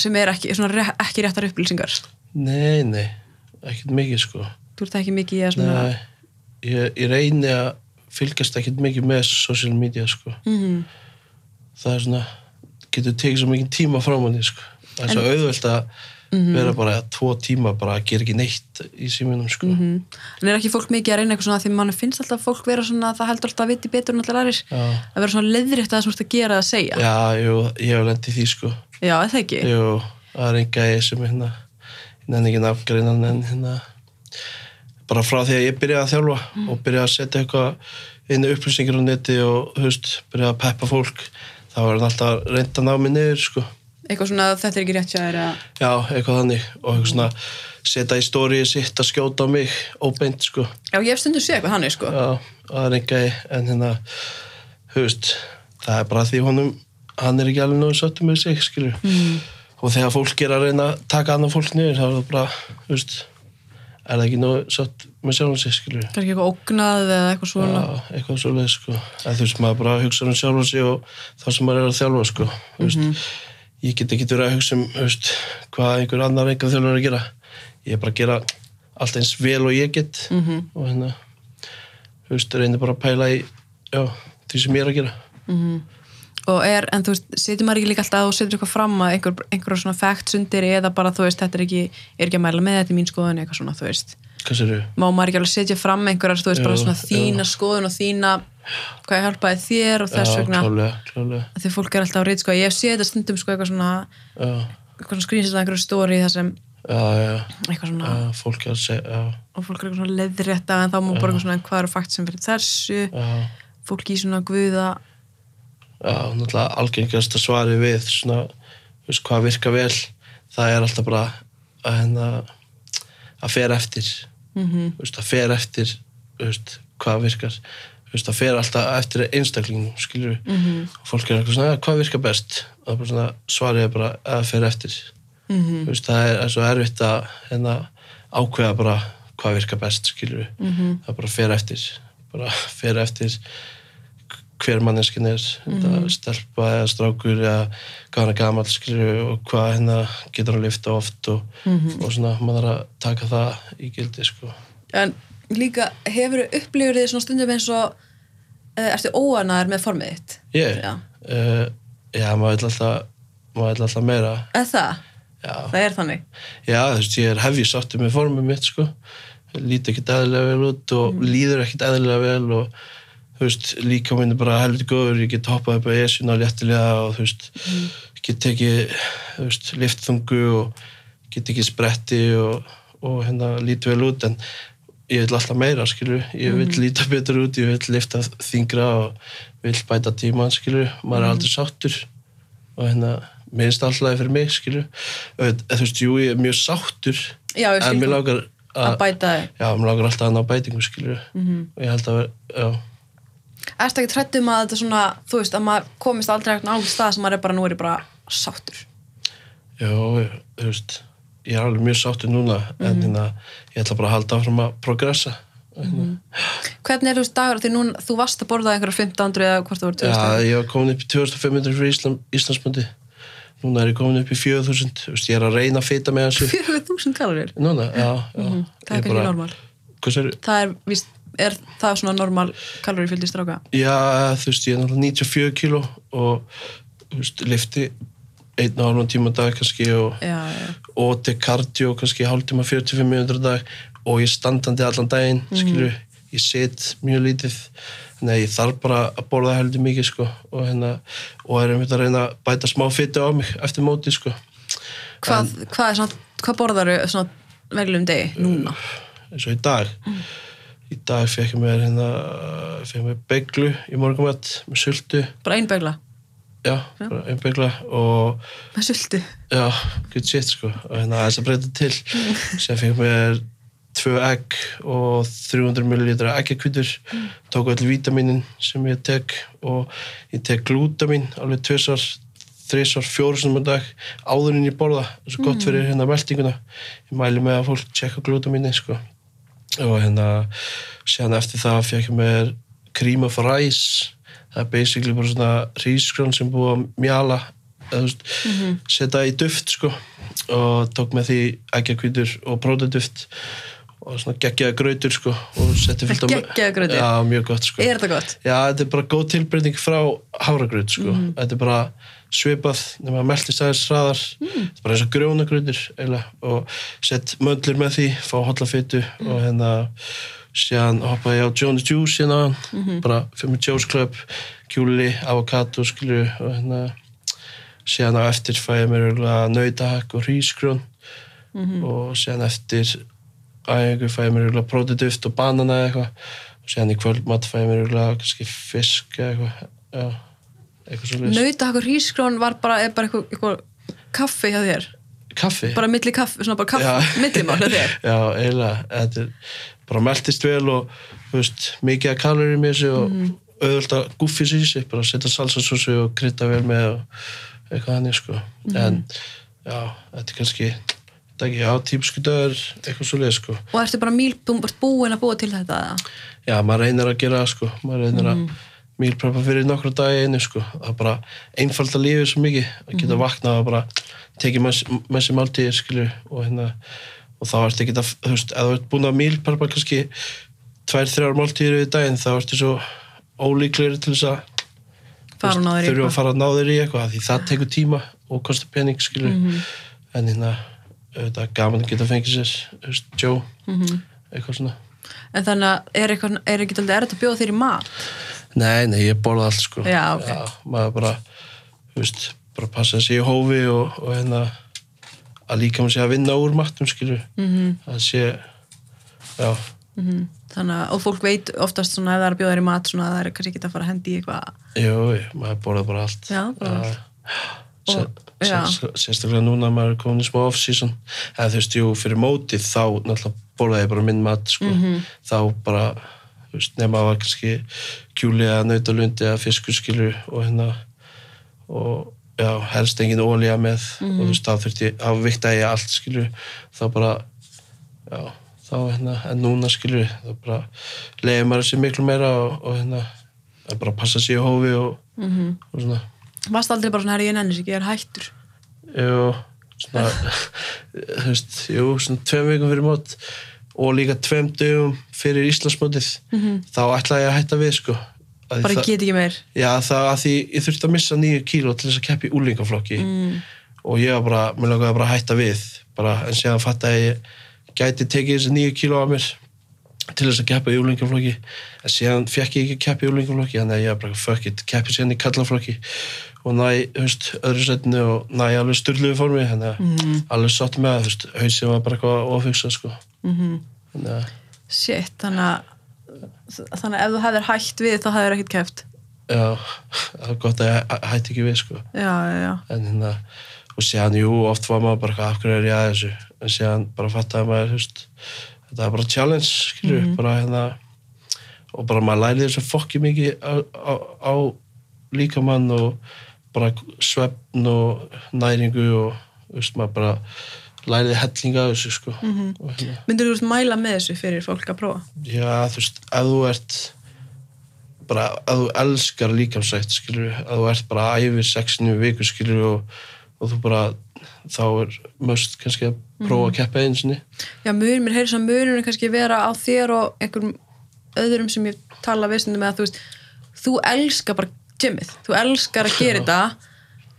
A: sem er ekki, svona, re- ekki réttar upplýsingar
B: Nei, nei, ekkert mikið sko.
A: þú ert ekki mikið í að svona
B: Nei, ég, ég reyni að fylgjast ekkert mikið með social media sko.
A: Mhm.
B: Það er svona, getur tekið svo mikið tíma frá manni sko. Það er svo auðvelt að
A: Mhm.
B: vera bara tvo tíma bara að gera ekki neitt í síminum sko.
A: Mhm. en er ekki fólk mikið að reyna eitthvað svona því mann finnst alltaf fólk vera svona það heldur alltaf að viti betur en allir aðrir
B: Já,
A: að vera svona leiðrétt að það sem þú ert að gera að segja já,
B: já jú, ég hef lendið því sko.
A: já er það ekki
B: Jú, það er einn gæði sem er hérna, ég nenni ekki nafngreinan en hérna, bara frá því að ég byrjaði að þjálfa
A: Mhm.
B: og byrjaði að setja eitthvað inn í upplýsingar á neti og, þú veist, byrjaði að peppa fólk, þá var hann alltaf reynd að ná mig niður, sko.
A: eitthvað svona þetta er ekki rétt hjá þér að
B: Já, eitthvað þannig og eitthvað svona setja í stórið sitt að skjóta á mig óbeint, sko.
A: já ég hef stundum séð eitthvað þannig sko
B: Já, það er einn gæði en hérna, þú veist, það er bara því honum, hann er ekki alveg nógu söttu með sig, skilju. Mm. Og þegar fólk er að reyna að taka annað fólk niður, þá er það bara, þú veist, er það ekki nógu sött með sjálfum sig, skilju.
A: kannski eitthvað ógnað eða eitthvað
B: Já,
A: svona
B: eitthvað svo leið, sko. En þú veist, maður bara hugsa um sjálfum sig og það sem maður er að þjálfa, sko. Þú veist,
A: Mhm.
B: ég get ekki verið að hugsa um, þú veist, hvað einhver annar einhver þjálfur er að gera. Ég er bara að gera allt eins vel og ég get
A: Mhm.
B: og hérna, þú veist, reynir bara að pæla í, já, því sem ég er að gera.
A: og er, en þú veist, setur maður ekki líka alltaf og setur eitthvað fram að einhver, einhver svona facts undir eða bara þú veist, þetta er ekki er ekki að mæla með þetta í mín skoðun eitthvað svona, þú veist
B: Hvað sér þau?
A: má maður ekki alveg setja fram einhverjar, þú veist,
B: Jú,
A: bara svona
B: jú.
A: þína skoðun og þína hvað hjálpaði þér og þess vegna
B: Já, klálega, klálega.
A: Af því fólk er alltaf á reynd, sko, ég hef séð þetta stundum sko, eitthvað svona,
B: Já,
A: eitthvað svona skrýnsett að einhverju stóri þar sem,
B: já, já,
A: eitthvað svona
B: já, fólk er að segja, já,
A: og fólk er eitthvað svona leðrétta en þá má bara eitthvað svona, en hvað eru fakt sem fyrir þessu
B: já.
A: fólk í svona guða
B: Já, náttúrulega algengast að svari við svona, þú veist, hvað virka vel það er alltaf bara að hérna að fer eftir
A: Mhm.
B: þú veist, að fer eftir þú veist, hvað virkar þú veist, að fer alltaf eftir einstaklingum skilur við,
A: Mhm.
B: fólk er eitthvað svona "Ja, hvað virkar best, og bara svona svarið er bara að fer eftir,
A: Mhm.
B: þú veist, það er, er svo erfitt að hérna ákveða bara hvað virkar best skilur við,
A: Mhm.
B: það bara fer eftir bara [laughs] fer eftir hver manneskin er mm stelpa eða strákur eða hvað hann er gamall skilju og hvað hérna getur hann lifta oft og, og svona maður er að taka það í gildi sko.
A: en líka, hefur upplifur þið svona stundum eins og eh, ertu óanaðar með formið þitt
B: Ég,
A: Já.
B: uh, já maður vil alltaf maður vil alltaf meira
A: eða það,
B: já,
A: það er þannig
B: já þú veist ég er hefjið sáttu með formum mitt sko líti ekkert eðlilega vel út og líður ekkert eðlilega vel og þú veist líka minn er bara helviti góður ég get hoppað upp að esuna léttilega og þú veist get tekið þú veist, liftþungu og get ekki spretti og, og hérna lítið vel út en ég vil alltaf meira skilju, ég vil líta betur út ég vil lifta þingra og vil bæta tíman skilju, maður er aldrei sáttur og hérna minnst alltaf fyrir mig skilju Auðvitað- eða, þú veist, jú ég er mjög sáttur
A: Já, ég skil
B: en mér
A: það.
B: lágar
A: að bæta Mhm. þig
B: já, mér lágar alltaf að ná bætingu skilju og ég held að vera, já
A: Erstu ekki trættum að þetta svona, þú veist, að maður komist aldrei eitthvað á stað sem maður er bara, nú er ég bara sáttur.
B: Já, ég- þú veist, ég er alveg mjög sáttur núna
A: Mhm.
B: en hérna, ég ætla bara að halda áfram að progressa.
A: Hvernig er þú veist dagur, því núna, þú varst að borða einhverja 1500 eða hvort þú voru 2000?
B: Já, ég var komin upp í 2500 fyrir Ísland, Íslandsbundi. Núna er ég komin upp í 4000, þú veist, ég er að reyna að fita
A: [laughs]
B: með þessu.
A: 40.000 kalorir.
B: Núna, já, já.
A: Það er
B: Ég
A: kannski
B: bara-
A: Mhm. normal.
B: Hvað sér,
A: Það er, víst, er það svona normal kalori fylgdi stráka?
B: já, þú veist, ég er náttúrulega 94 kíló og, þú veist, lifti einn og hálfum tíma á dag kannski og
A: Já, já.
B: og til kardio kannski hálftíma 45 minútur á dag og ég er standandi allan daginn skilju, ég sit mjög lítið þannig að ég þarf bara að borða heldur mikið sko og, hérna, og er einmitt að reyna að bæta smá fytti á mig eftir móti sko
A: Hvað, hvað er svona, hvað borðar þau svona veglum degi núna?
B: eins og í dag í dag fekk ég mér hérna fekk mér beglu í morgumett með sultu,
A: Bara ein begla?
B: já, bara einn begla og
A: Með sultu?
B: Já, good shit sko og hérna aðeins að breyta til sem fekk mér tvö egg og 300 ml eggjakvítur tók öll vítaminin sem ég tek og ég tek glútamin alveg tvisvar, þrisvar, fjórusunum dag áðurinn ég borða það er svo gott fyrir hérna meldinguna ég mæli með að fólk tjekka glútamini sko og hérna síðan eftir það fekk ég mér cream of rice það er basically bara svona rísgrón sem er búið að mjala eða, þú veist, setja í duft sko og tók með því ægjakvítur og próteduft og svona geggjaða grautur sko og setti fyllt
A: Geggjaður grautur?
B: Já, mjög gott sko
A: Er þetta gott?
B: Já, þetta er bara góð tilbreyting frá háragraut sko. Þetta er bara svipað, þegar maður meldist aðeins hraðar, þetta er bara eins og grjónagrautir eiginlega og sett möndlur með því, fá hotlafytu og hérna síðan hoppaði ég á Johnny Juice hérna, bara fyrir mig Joe's Club, kjúli, avokado skilju og hérna síðan á eftir fæ ég mér örugglega nautahakk og hrísgrjón
A: Mhm.
B: og síðan eftir æfingu fæ ég mér örugglega prótiduft og banana eða eitthvað og síðan í kvöldmatt fæ ég mér örugglega kannski fisk eða eitthvað já, eitthvað svo leiðis
A: Nautahakkur hrísgrón var bara, er bara eitthvað, eitthvað kaffi hjá þér
B: kaffi
A: bara milli kaffi, svona bara kaffi, millimál hjá þér
B: [laughs] já, eiginlega þetta er bara meltist vel og þú veist, mikið að kalorum í þessu og
A: Mhm.
B: auðvöld að guffi sér í sig bara setja salsasósu og krydda vel með og eitthvað þannig sko
A: Mhm.
B: en já, þetta er kannski þetta er ekki á típisku dagur eitthvað svo leiðis sko
A: og ertu bara mýl, þú ert búin að búa til þetta eða?
B: Já, maður reynir að gera það sko, maður reynir
A: Mhm.
B: að mílprepa fyrir nokkra dagi einu sko, það er bara einfalt að lífið svo mikið, að geta
A: Mhm.
B: vaknað og bara tekið með sér- með sér máltíðir skilur og hérna, og þá ertu ekki að, þú veist, ef þú ert búin að mílprepa kannski tvær, þrjár máltíðir við daginn, þá ertu svo ólíklegri til þess að
A: fara hún á þér í
B: þurfa að
A: eitthvað.
B: fara að ná þér í eitthvað af því það tekur tíma og kostar pening skilur
A: Mhm.
B: en hérna, auðvitað er gaman að geta fengið sér, þú veist, Joe
A: Mhm.
B: eitthvað svona
A: en þannig að er, eitthvað, er ekki alltaf erfitt að bjóða þér í mat
B: Nei, nei, ég borða allt sko
A: Já, ok.
B: Maður bara, þú veist, bara passa að sé í hófi og, og hérna að líka maður sé að vinna úr matnum skilur
A: Mhm.
B: -hmm. að sé já, Mhm.
A: þannig að, og fólk veit oftast svona ef það er að bjóða þér í mat svona að það er kannski ekki að fara að hendi í eitthvað
B: jú, jú, maður borða bara allt
A: Já, bara allt.
B: Já.
A: Og-
B: Sér-
A: já.
B: sér- sérstaklega núna að maður er komin í smá off-season eða þú veist, jú, fyrir mótið þá náttúrulega borðaði ég bara minn mat sko.
A: Mhm.
B: þá bara, þú veist, nema að var kannski kjúli eða nautalundi eða fiskurskilur og hérna og já, helst engin ólíja með
A: Mhm.
B: og þú veist, þá þurfti ég að vikta ég allt skilur, þá bara já, þá hérna, en núna skilur þá bara leiði maður sér miklu meira og, og hérna, það bara passa sér í hófi og,
A: Mhm.
B: og svona
A: varst aldrei bara svona, herri, ég nennir ekki, ég er hættur
B: Jú, svona, þú veist, jú, svona tveim vikum fyrir mót og líka tveim dögum fyrir Íslandsmótið, þá ætlaði ég að hætta við, sko. Af því
A: bara
B: það-
A: get ekki meir
B: Já, það að því ég þurfti að missa nýju kíló til þess að keppi í úlingaflokki og ég var bara, mér langaði bara að hætta við bara, en séðan fatt að ég gæti tekið þessi nýju kíló af mér til þess að keppa í úlingaflokki en séðan fekk ég ekki að keppa í úlingaflokki þannig að ég var bara, fuck it, keppi séðan í kallaflokki og næ, þú veist, öðru setinu og næ alveg styrluðu formi þannig að alveg satt með það, þú veist, hausið var bara eitthvað ofugsa, sko þannig að,
A: shit, þannig að þannig að ef þú hefðir hætt við þá hefðir ekkert keft
B: já, það er gott að ég hæ- hætti ekki við, sko
A: já, já, já,
B: en hérna og séðan, jú, oft var maður bara eitthvað, af hverju er ég að þessu en séðan bara fattaði maður hefst, þetta er bara challenge, skilju bara hérna og bara maður læri þessu fokki mikið á, á, á líkamann og bara svefn og næringu og þú veist, maður bara læriði hellinga af þessu sko og hérna
A: myndir þú veist mæla með þessu fyrir fólk að prófa
B: Já, þú veist, ef þú ert bara, ef þú elskar líkamsrækt, skilur, ef þú ert bara æfir sexinu viku, skilur, og, og þú bara, þá er möst kannski að prófa
A: Mhm.
B: að keppa einu sinni.
A: Já, mun, mér heyrðis að munurinn kannski vera á þér og einhverjum öðrum sem ég tala við stundum með að þú veist, þú elskar bara gymmið, þú elskar að gera þetta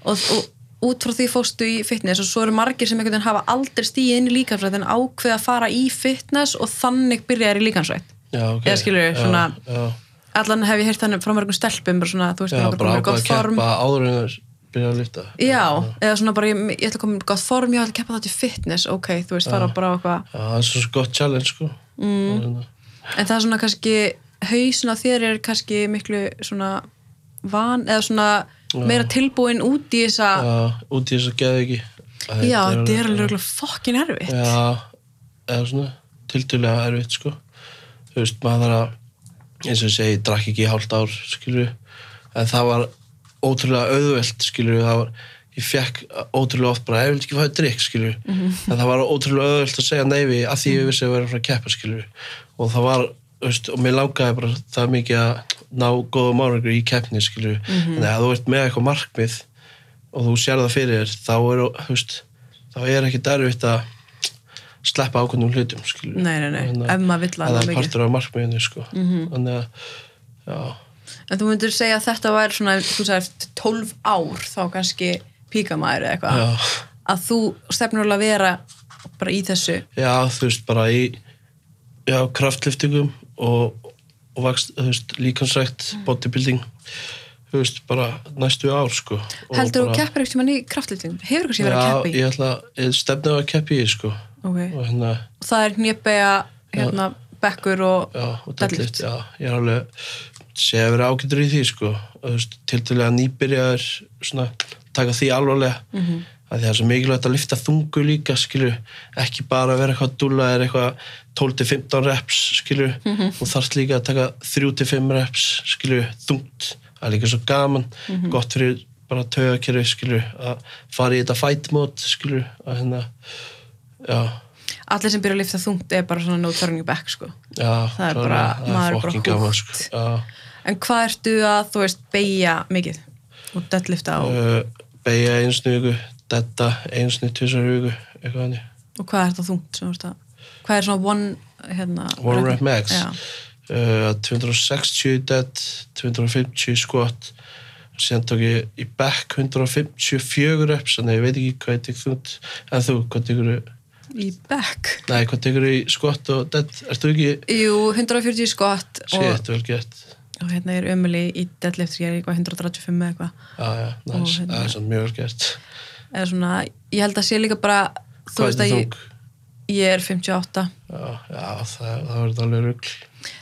A: og, og út frá því fóstu í fitness og svo eru margir sem einhvern veginn hafa aldrei stíð inn í líkansrætt en ákveða að fara í fitness og þannig byrja þær í líkansrætt.
B: Já, ok.
A: Eða skilurðu, svona-
B: Já, já,
A: Allan hef ég heyrt þannig frá mörgum stelpum bara svona, þú veist,
B: já
A: mig langar
B: bara
A: að koma í
B: ákvað að
A: gott form.
B: keppa áður en það byrja að lyfta.
A: Já, eða svona bara, ég, ég ætla að koma í gott form, ég ætla að keppa það til fitness, ok, þú veist, fara bara á eitthvað
B: Já, það er svo gott challenge, sko. Mm.
A: En það er svona kannski, hausin á þér er kannski miklu svona van, eða svona meira tilbúin út í þessa,
B: Já, út í þess að geða ekki.
A: Ah. já, þetta er alveg örugglega fokkin erfitt.
B: Já, eða svona tildulega erfitt sko þú veist, maður þarf að eins og ég segi, ég drakk ekki í hálft ár skilur en það var ótrúlega auðvelt skilur það var, ég fekk ótrúlega oft bara ég vil ekki fæða drikk skilur en það var ótrúlega auðvelt að segja neyfi að því ég vissi að vera frá að keppa skilur og það var, þú veist, og mér langaði bara það mikið að ná góða márökur í keppni skilur en ef þú ert með eitthvað markmið og þú sér það fyrir þér þá er, þú veist, þá er ekki derfitt að sleppa ákveðnum hlutum skilur.
A: Nei, nei, nei,
B: Þannig að-
A: ef maður vill
B: að
A: alveg
B: það er
A: mikið. Mhm.
B: partur af markmiðinu sko. -hmm. þannig að já,
A: En þú myndir segja að þetta væri svona, þú sagði, eftir 12 ár þá kannski píkamæður eða eitthvað.
B: já,
A: Að þú stefnur alveg að vera bara í þessu.
B: já, þú veist bara í já, kraftliftingum og, og vakst, þú veist, líkansrækt
A: Mm.
B: bodybuilding þú veist, bara næstu ár sko. Og
A: Heldur þú
B: bara-
A: keppir eitthvað mann í kraftlýting? Hefur kannski verið að keppa í?
B: Já, ég ætla að stefna á að keppi í sko.
A: Ok.
B: og hérna,
A: Og það er hnjöpega, hérna, bekkur og,
B: já, og
A: deadlift.
B: deadlift já, ég er alveg sé að vera ágættur í því sko. Og, þú veist, til til að nýbyrjaður svona, taka því alvarlega mm
A: Mhm.
B: -hmm. það er svo mikilvægt að lifta þungu líka skilur, ekki bara vera eitthvað dúla eða eitthvað 12-15 reps skilur, mm
A: Mhm.
B: -hmm. og þarft líka að taka 3-5 reps skilur, þungt, það er líka svo gaman
A: Mhm.
B: gott fyrir bara tögakerfi skilur, að fara í þetta fight mode skilur, að hérna já,
A: Allir sem byrja að lifta þungt er bara svona no turning back, sko.
B: Já,
A: Það er
B: klárlega,
A: bara-
B: það er
A: maður er bara
B: fucking gaman,
A: hooked.
B: sko. Já,
A: En hvað ertu að, þú veist, beigja mikið? Og deadlifta og,
B: uh, beigja einsni viku, detta einsni tvisar viku, eitthvað hannig.
A: og hvað er þetta þungt? Sem, þú veist, að, hvað er svona one, hérna...
B: One rep max.
A: Já.
B: Uh, 260 dead, 250 squat, síðan tók ég í back 154 reps, þannig að ég veit ekki hvað ég tek þungt, en þú, hvað tekur
A: Í back.
B: nei, hvað tekur í squat og dead, ert þú ekki,
A: Jú, 140 skott og,
B: shit, vel gett.
A: og hérna ég er ömuli í deadlift ég er eitthvað 135 eða eitthvað
B: Já, já,
A: Og
B: næs,
A: hérna-
B: það er svo mjög vel gert.
A: eða svona, ég held að sé líka bara þú
B: Hvað
A: veist að
B: er
A: ég,
B: þung?
A: ég er 58
B: Já, já, það, það verður alveg rugl.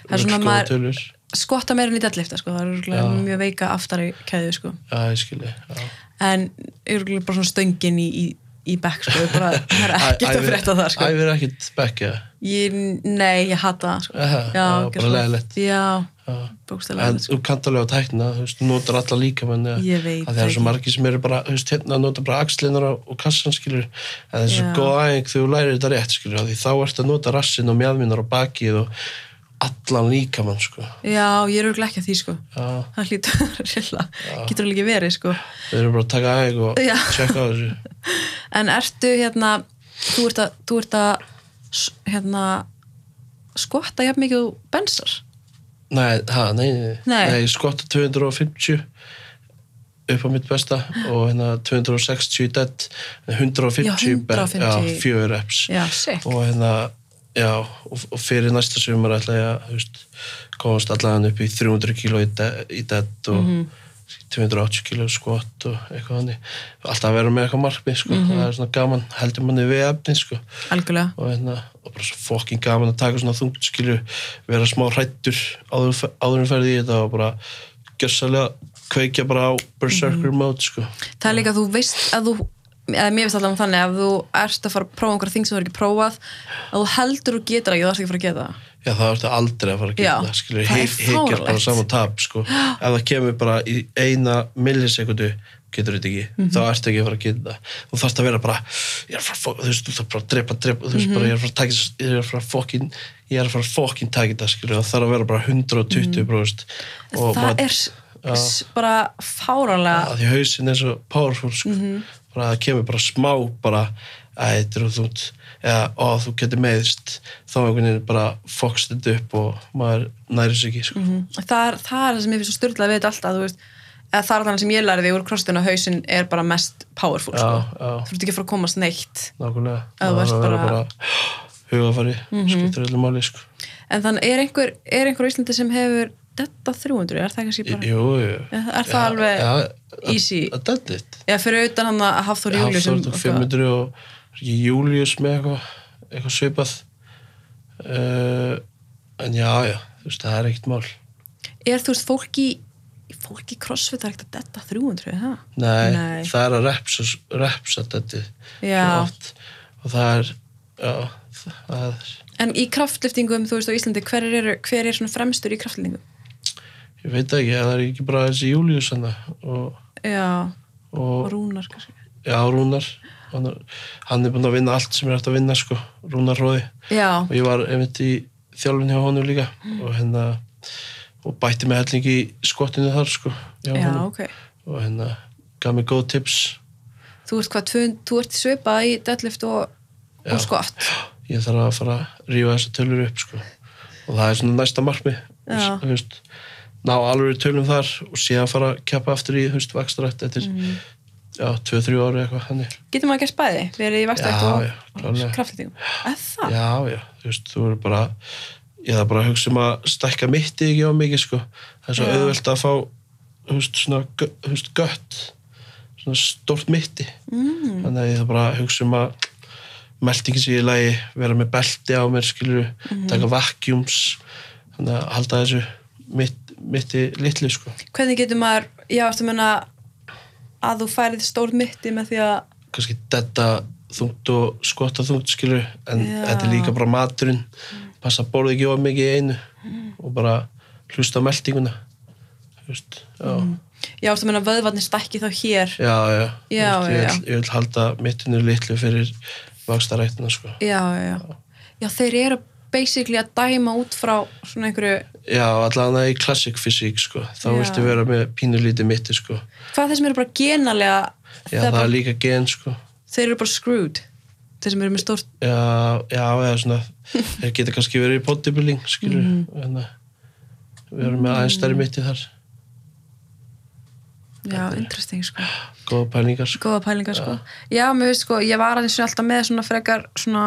A: Það er svona
B: Rugl góða
A: maður-
B: tölur.
A: skotta meira en í deadlifta sko, það er örugglega
B: Já.
A: mjög veika aftari keðu sko,
B: Já, ég skilji. Já.
A: en örugglega bara svona stöngin í, í, í back sko, ég bara, það er ekkert að
B: Æ-
A: frétta það sko
B: Æfir ekkert bekkja.
A: ég, nei, ég hata það sko
B: Aha,
A: já,
B: já, bara
A: gjörsamlega.
B: leiðilegt.
A: já,
B: Já.
A: bókstæðlega
B: En
A: leiðilegt sko.
B: þú kannt alveg á tækna, þú veist, þú notar alla líka menn
A: Ég veit
B: að það
A: það
B: er svo
A: ekki.
B: margir sem eru bara, þú veist, hérna nota bara axlinar og, og kassan, skilur en það er svo
A: Já.
B: góð aðeins þegar þú lærir þetta rétt, skilur því þá ertu að nota rassin og mjadminar og bakið og allan líka mann, sko
A: já, ég er örugglega ekki að því sko
B: Já,
A: það hlýtur að rilla, getur alveg ekki verið sko
B: við erum bara að taka aðeins og
A: Já.
B: tjekka á þessu
A: En ertu hérna þú ert að, þú ert að s- hérna skotta jafn mikið og bensar
B: Nei, ha, nei, nei,
A: Nei.
B: nei skotta 250 upp á mitt besta og hérna 260 í dead 150,
A: Já,
B: í back,
A: 150.
B: já, fjögur reps
A: Já, sick
B: og hérna já, og, og fyrir næsta sumar ætla ég að þú veist, komast allan upp í 300 kíló í, de í dead og
A: Mhm.
B: 280 kíló skott og eitthvað þannig alltaf að vera með eitthvað markmið sko.
A: Mhm.
B: það er svona gaman, heldur manni við efni sko
A: Algjörlega
B: og, hérna, og bara svo fokkin gaman að taka svona þungt skilju, vera smá hrættur áður, fe- áður en ferði í þetta og bara gjössalega kveikja bara á
A: Mhm.
B: berserker mode sko
A: Það er líka að þú veist að þú eða mér veist allavega þannig að þú ert að fara að prófa einhverja þing sem þú er ekki prófað að þú heldur og getur ekki, þú ert ekki að fara að geta það
B: já það ertu aldrei að fara að
A: Já,
B: geta það skilju,
A: það er
B: hikjar bara
A: fáránlegt.
B: saman tap
A: [gasps]
B: sko, ef það kemur bara í eina millisekundu getur þetta ekki,
A: Mhm.
B: þá ertu ekki að fara að geta það þú þarfst að vera bara ég er að fara að fokkin, þú veist, þú þarf bara að drepa, drepa þú veist
A: Mhm.
B: bara, ég er að fara að taka þess- ég er að fara að fokkin ég er að fara að fokkin taka þetta skilju það þarf að vera bara 120
A: Mm. Það
B: og bara
A: er s- s- bara fáranlega
B: að því hausin er svo powerful sko.
A: Mhm.
B: bara að það kemur bara smá bara að þetta eru þúnt eða ó, þú getur meðist þá einhvern veginn bara fokst þetta upp og maður næri sig ekki
A: Mhm.
B: sko.
A: það er, það er það sem ég finnst svo styrlað við þetta alltaf þú veist, eða það er þannig sem ég lærði úr krostin og hausinn er bara mest powerful
B: já,
A: sko.
B: já,
A: þú ert ekki að fara að komast neitt
B: nákvæmlega
A: Að þú
B: Maður
A: ert
B: að vera
A: bara- Mhm.
B: hugafari, skiptir öllu máli sko.
A: En þannig, er einhver, er einhver á Íslandi sem hefur detta 300, er það kannski
B: Í-
A: bara
B: jú, jú
A: Er það- er það alveg easy?
B: að þetta er
A: Já, fyrir auðvitað hann að Hafþór Július
B: Hafþór tók 500 og er ekki Július með eitthvað eitthvað svipað uh, en já, já þú veist, það er ekkert mál
A: Er þú veist, fólk í fólk í crossfit er ekkert að detta 300 er það?
B: Nei,
A: Nei.
B: það er að repsa, repsa þetta
A: Já.
B: oft og það er, já, það er,
A: En í kraftliftingum, þú veist, á Íslandi hver er, hver er svona fremstur í kraftliftingum?
B: ég veit ekki, það er ekki bara þessi Július hann og,
A: Já, og
B: og
A: rúnar kannski
B: já, Rúnar, hann, er- hann er búinn að vinna allt sem er hægt að vinna, sko, Rúnar Róði
A: Já,
B: og ég var einmitt í þjálfun hjá honum líka og hérna, og bætti með helling í skottinu þar, sko, hjá
A: já,
B: honum
A: ok
B: og hérna, gaf mér góð tips
A: Þú ert hvað, tvö, þú ert svipað í deadlift og,
B: Já.
A: og skott.
B: ég þarf að fara að rífa þessa tölur upp sko. og það er svona næsta markmi
A: Já.
B: þú veist, ná alveg tölum þar og síðan fara að keppa aftur í höst vakstrætt eftir já, 2-3 ári eitthvað hannig
A: Getur maður gert bæði? Verið í vastækt
B: Já,
A: og,
B: já,
A: og
B: klárlega.
A: kraftlýtingum. Eða það?
B: já, já, þú veist, þú eru bara ég þarf bara að hugsa um að stækka mitti ekki á mikið sko, það er svo
A: Já.
B: auðvelt að fá þú veist, svona gö- þú veist, gött svona stórt mitti
A: Mm.
B: þannig að ég þarf bara að hugsa um að meldingin sé í lagi, vera með belti á mér skilur,
A: Mhm.
B: taka vakkjúms þannig að halda þessu mitt, mitti litlu sko
A: Hvernig getur maður, já, ertu að menna að þú færið stórt mitti með því að
B: kannski detta þungt og skotta þungt skilur en
A: Já. Mm.
B: þetta er líka bara maturinn passa að borða ekki of mikið í einu og bara hlusta á meldinguna þú veist, já
A: Mm. já, ertu að menna vöðvarnir stækki þá hér
B: já, já, Þú
A: Já,
B: veist, ég,
A: já,
B: Vil, ég vil halda mittinu litlu fyrir vakstarættina sko
A: já, já, já. já, þeir eru basically að dæma út frá svona einhverju,
B: já, allavega í classic fysík sko þá
A: Já.
B: viltu vera með pínulítið mitti sko
A: hvað þeir sem eru bara genalega
B: já,
A: þeir,
B: það er
A: bara,
B: líka gen sko
A: þeir eru bara screwed þeir sem eru með stórt
B: já, já, eða svona þeir geta kannski verið í bodybuilding skilur mm. við erum með aðeins stærri mitti þar
A: já, interesting, sko,
B: góða pælingar sko
A: góða pælingar, sko já, mér veist, sko, ég var aðeins svona alltaf með svona frekar svona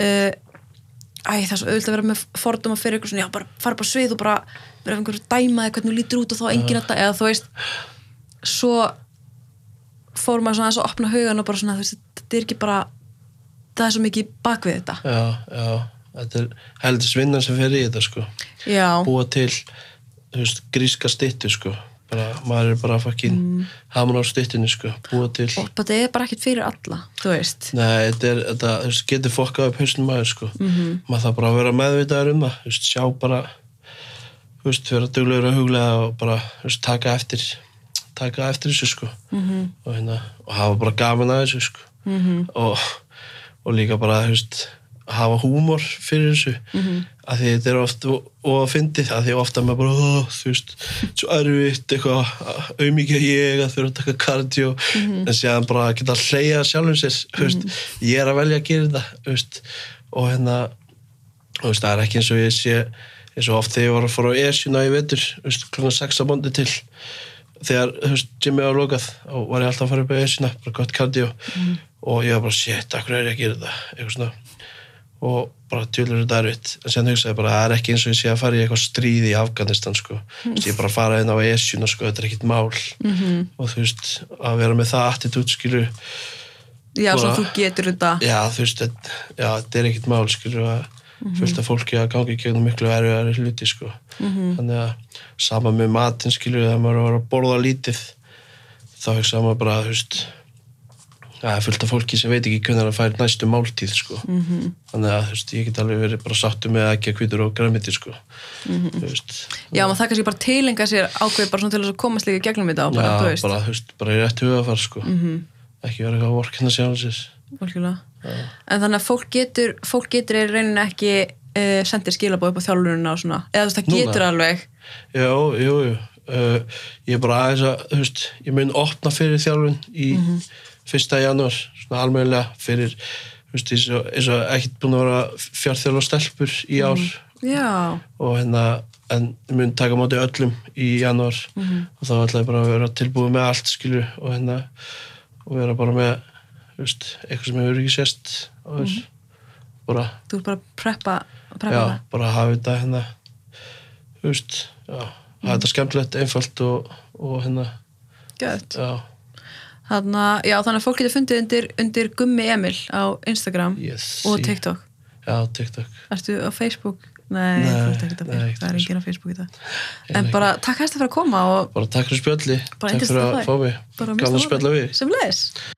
A: uh, æ, það er svo auðvitað að vera með fordóma fyrir ykkur svona, já, bara fara bara á svið og bara vera einhverju að dæma þig hvernig þú lítur út og þá enginn að dæma, eða þú veist svo fór maður svona aðeins að opna hugan og bara svona, þú veist, þetta er ekki bara það er svo mikið bak við þetta
B: já, já, þetta er heldur svinnan sem fer í þetta sko
A: já,
B: búa til, þú veist, gríska styttu sko bara, maður er bara fucking mm. hamar á styttinu sko búa til,
A: og þetta er bara ekkert fyrir alla þú veist,
B: nei, þetta er þetta, þú veist, getur fokkað upp hausnum maður sko -hmm. maður þarf bara að vera meðvitaður um það þú veist, sjá bara þú veist, vera duglegur að huglega og bara, þú veist, taka eftir taka eftir þessu sko -hmm. og, hérna, og hafa bara gaman að þessu sko -hmm. og, og líka bara, þú veist hafa húmor fyrir þessu -hmm. að því þetta er oft og að fyndið, að því ofta maður bara "Ó, þú veist, svo erfitt eitthvað auðmikið ég að þurfa að taka kardió en séðan bara að geta að hleyja sjálfum sér, þú veist, ég er að velja að gera þetta, þú veist og hérna, þú veist, það er ekki eins og ég sé eins og oft þegar ég var að fara á ESU-na í vetur, þú veist, klukkan 6 á bondi til þegar, þú veist, Jimmy var lokað og var ég alltaf að fara upp á ESU-na, bara gott kardio og ég var bara, shit, akkur er ég að gera þetta eitthvað svona og bara tjölur þetta erfitt en sen hugsaði ég bara, það er ekki eins og ég sé að fara í eitthvað stríð í Afganistan, sko mm. ég er bara að fara inn á ESU-na, sko, þetta er ekkit mál -hmm. og þú veist, að vera með það attitút, skilur,
A: já, svona
B: Bara-
A: þú getur þetta
B: já, þú veist, þetta, já, þetta er ekkit mál, skilur að fullt af fólki að gangi gegnum miklu erfiðari hluti, sko.
A: Mhm.
B: -hmm. Þannig að sama með matinn, skilur, þegar maður var að borða lítið, þá hugsaði maður bara, þú veist, það er fullt af fólki sem veit ekki hvernig það fær næstu máltíð, sko. -hmm.
A: Mhm.
B: Þannig að, þú veist, ég get alveg verið bara sattu með ekki að kvítur og græmiti, sko.
A: Mhm.
B: Mm -hmm. Þú veist,
A: já, maður það kannski bara tilenga sér ákveð bara svona til þess að komast líka í gegnum þetta og bara,
B: já,
A: þú veist, Mhm.
B: bara, þú veist, bara í rétt hugafar, sko. Mm -hmm. Ekki vera eitthvað að vorkina sjálfsins.
A: algjörlega en þannig að fólk getur fólk getur í rauninni ekki uh, sendir skilabóð upp á þjálfurina og svona eða þú veist það
B: Núna?
A: getur alveg
B: Jó, jú, jú. Uh, ég er bara aðeins að, þú veist, ég mun opna fyrir þjálfun í 1. janúar, svona almennilega fyrir, þú veist, eins og, eins og ekkert búin að vera fjárþjálfa stelpur í ár
A: já,
B: og hérna, en ég mun taka á móti öllum í janúar og þá ætla ég bara að vera tilbúið með allt, skilur, og hérna, og vera bara með, þú veist, eitthvað sem hefur ekki sést, og mm bara,
A: þú ert bara að preppa, preppa
B: já,
A: það.
B: bara hafa þetta hérna þú veist, já hafa þetta skemmtilegt, einfalt og, og hérna,
A: Gött.
B: já,
A: Þannig, að- já, þannig að fólk getur fundið undir, undir Gummi Emil á Instagram
B: yes
A: og TikTok
B: já, TikTok,
A: Ertu á Facebook? Nei,
B: Nei,
A: þú ert ekkert á
B: nei,
A: Facebook,
B: ekkert
A: það
B: á
A: er enginn á Facebook í dag
B: Ég
A: En
B: ekki.
A: bara takk hægt fyrir að koma og
B: bara takk fyrir spjalli
A: Bara
B: takk
A: yndislegt
B: fyrir
A: að
B: að
A: fá þig.
B: fá mig,
A: bara
B: gaman að spjalla við þig.
A: Sem leis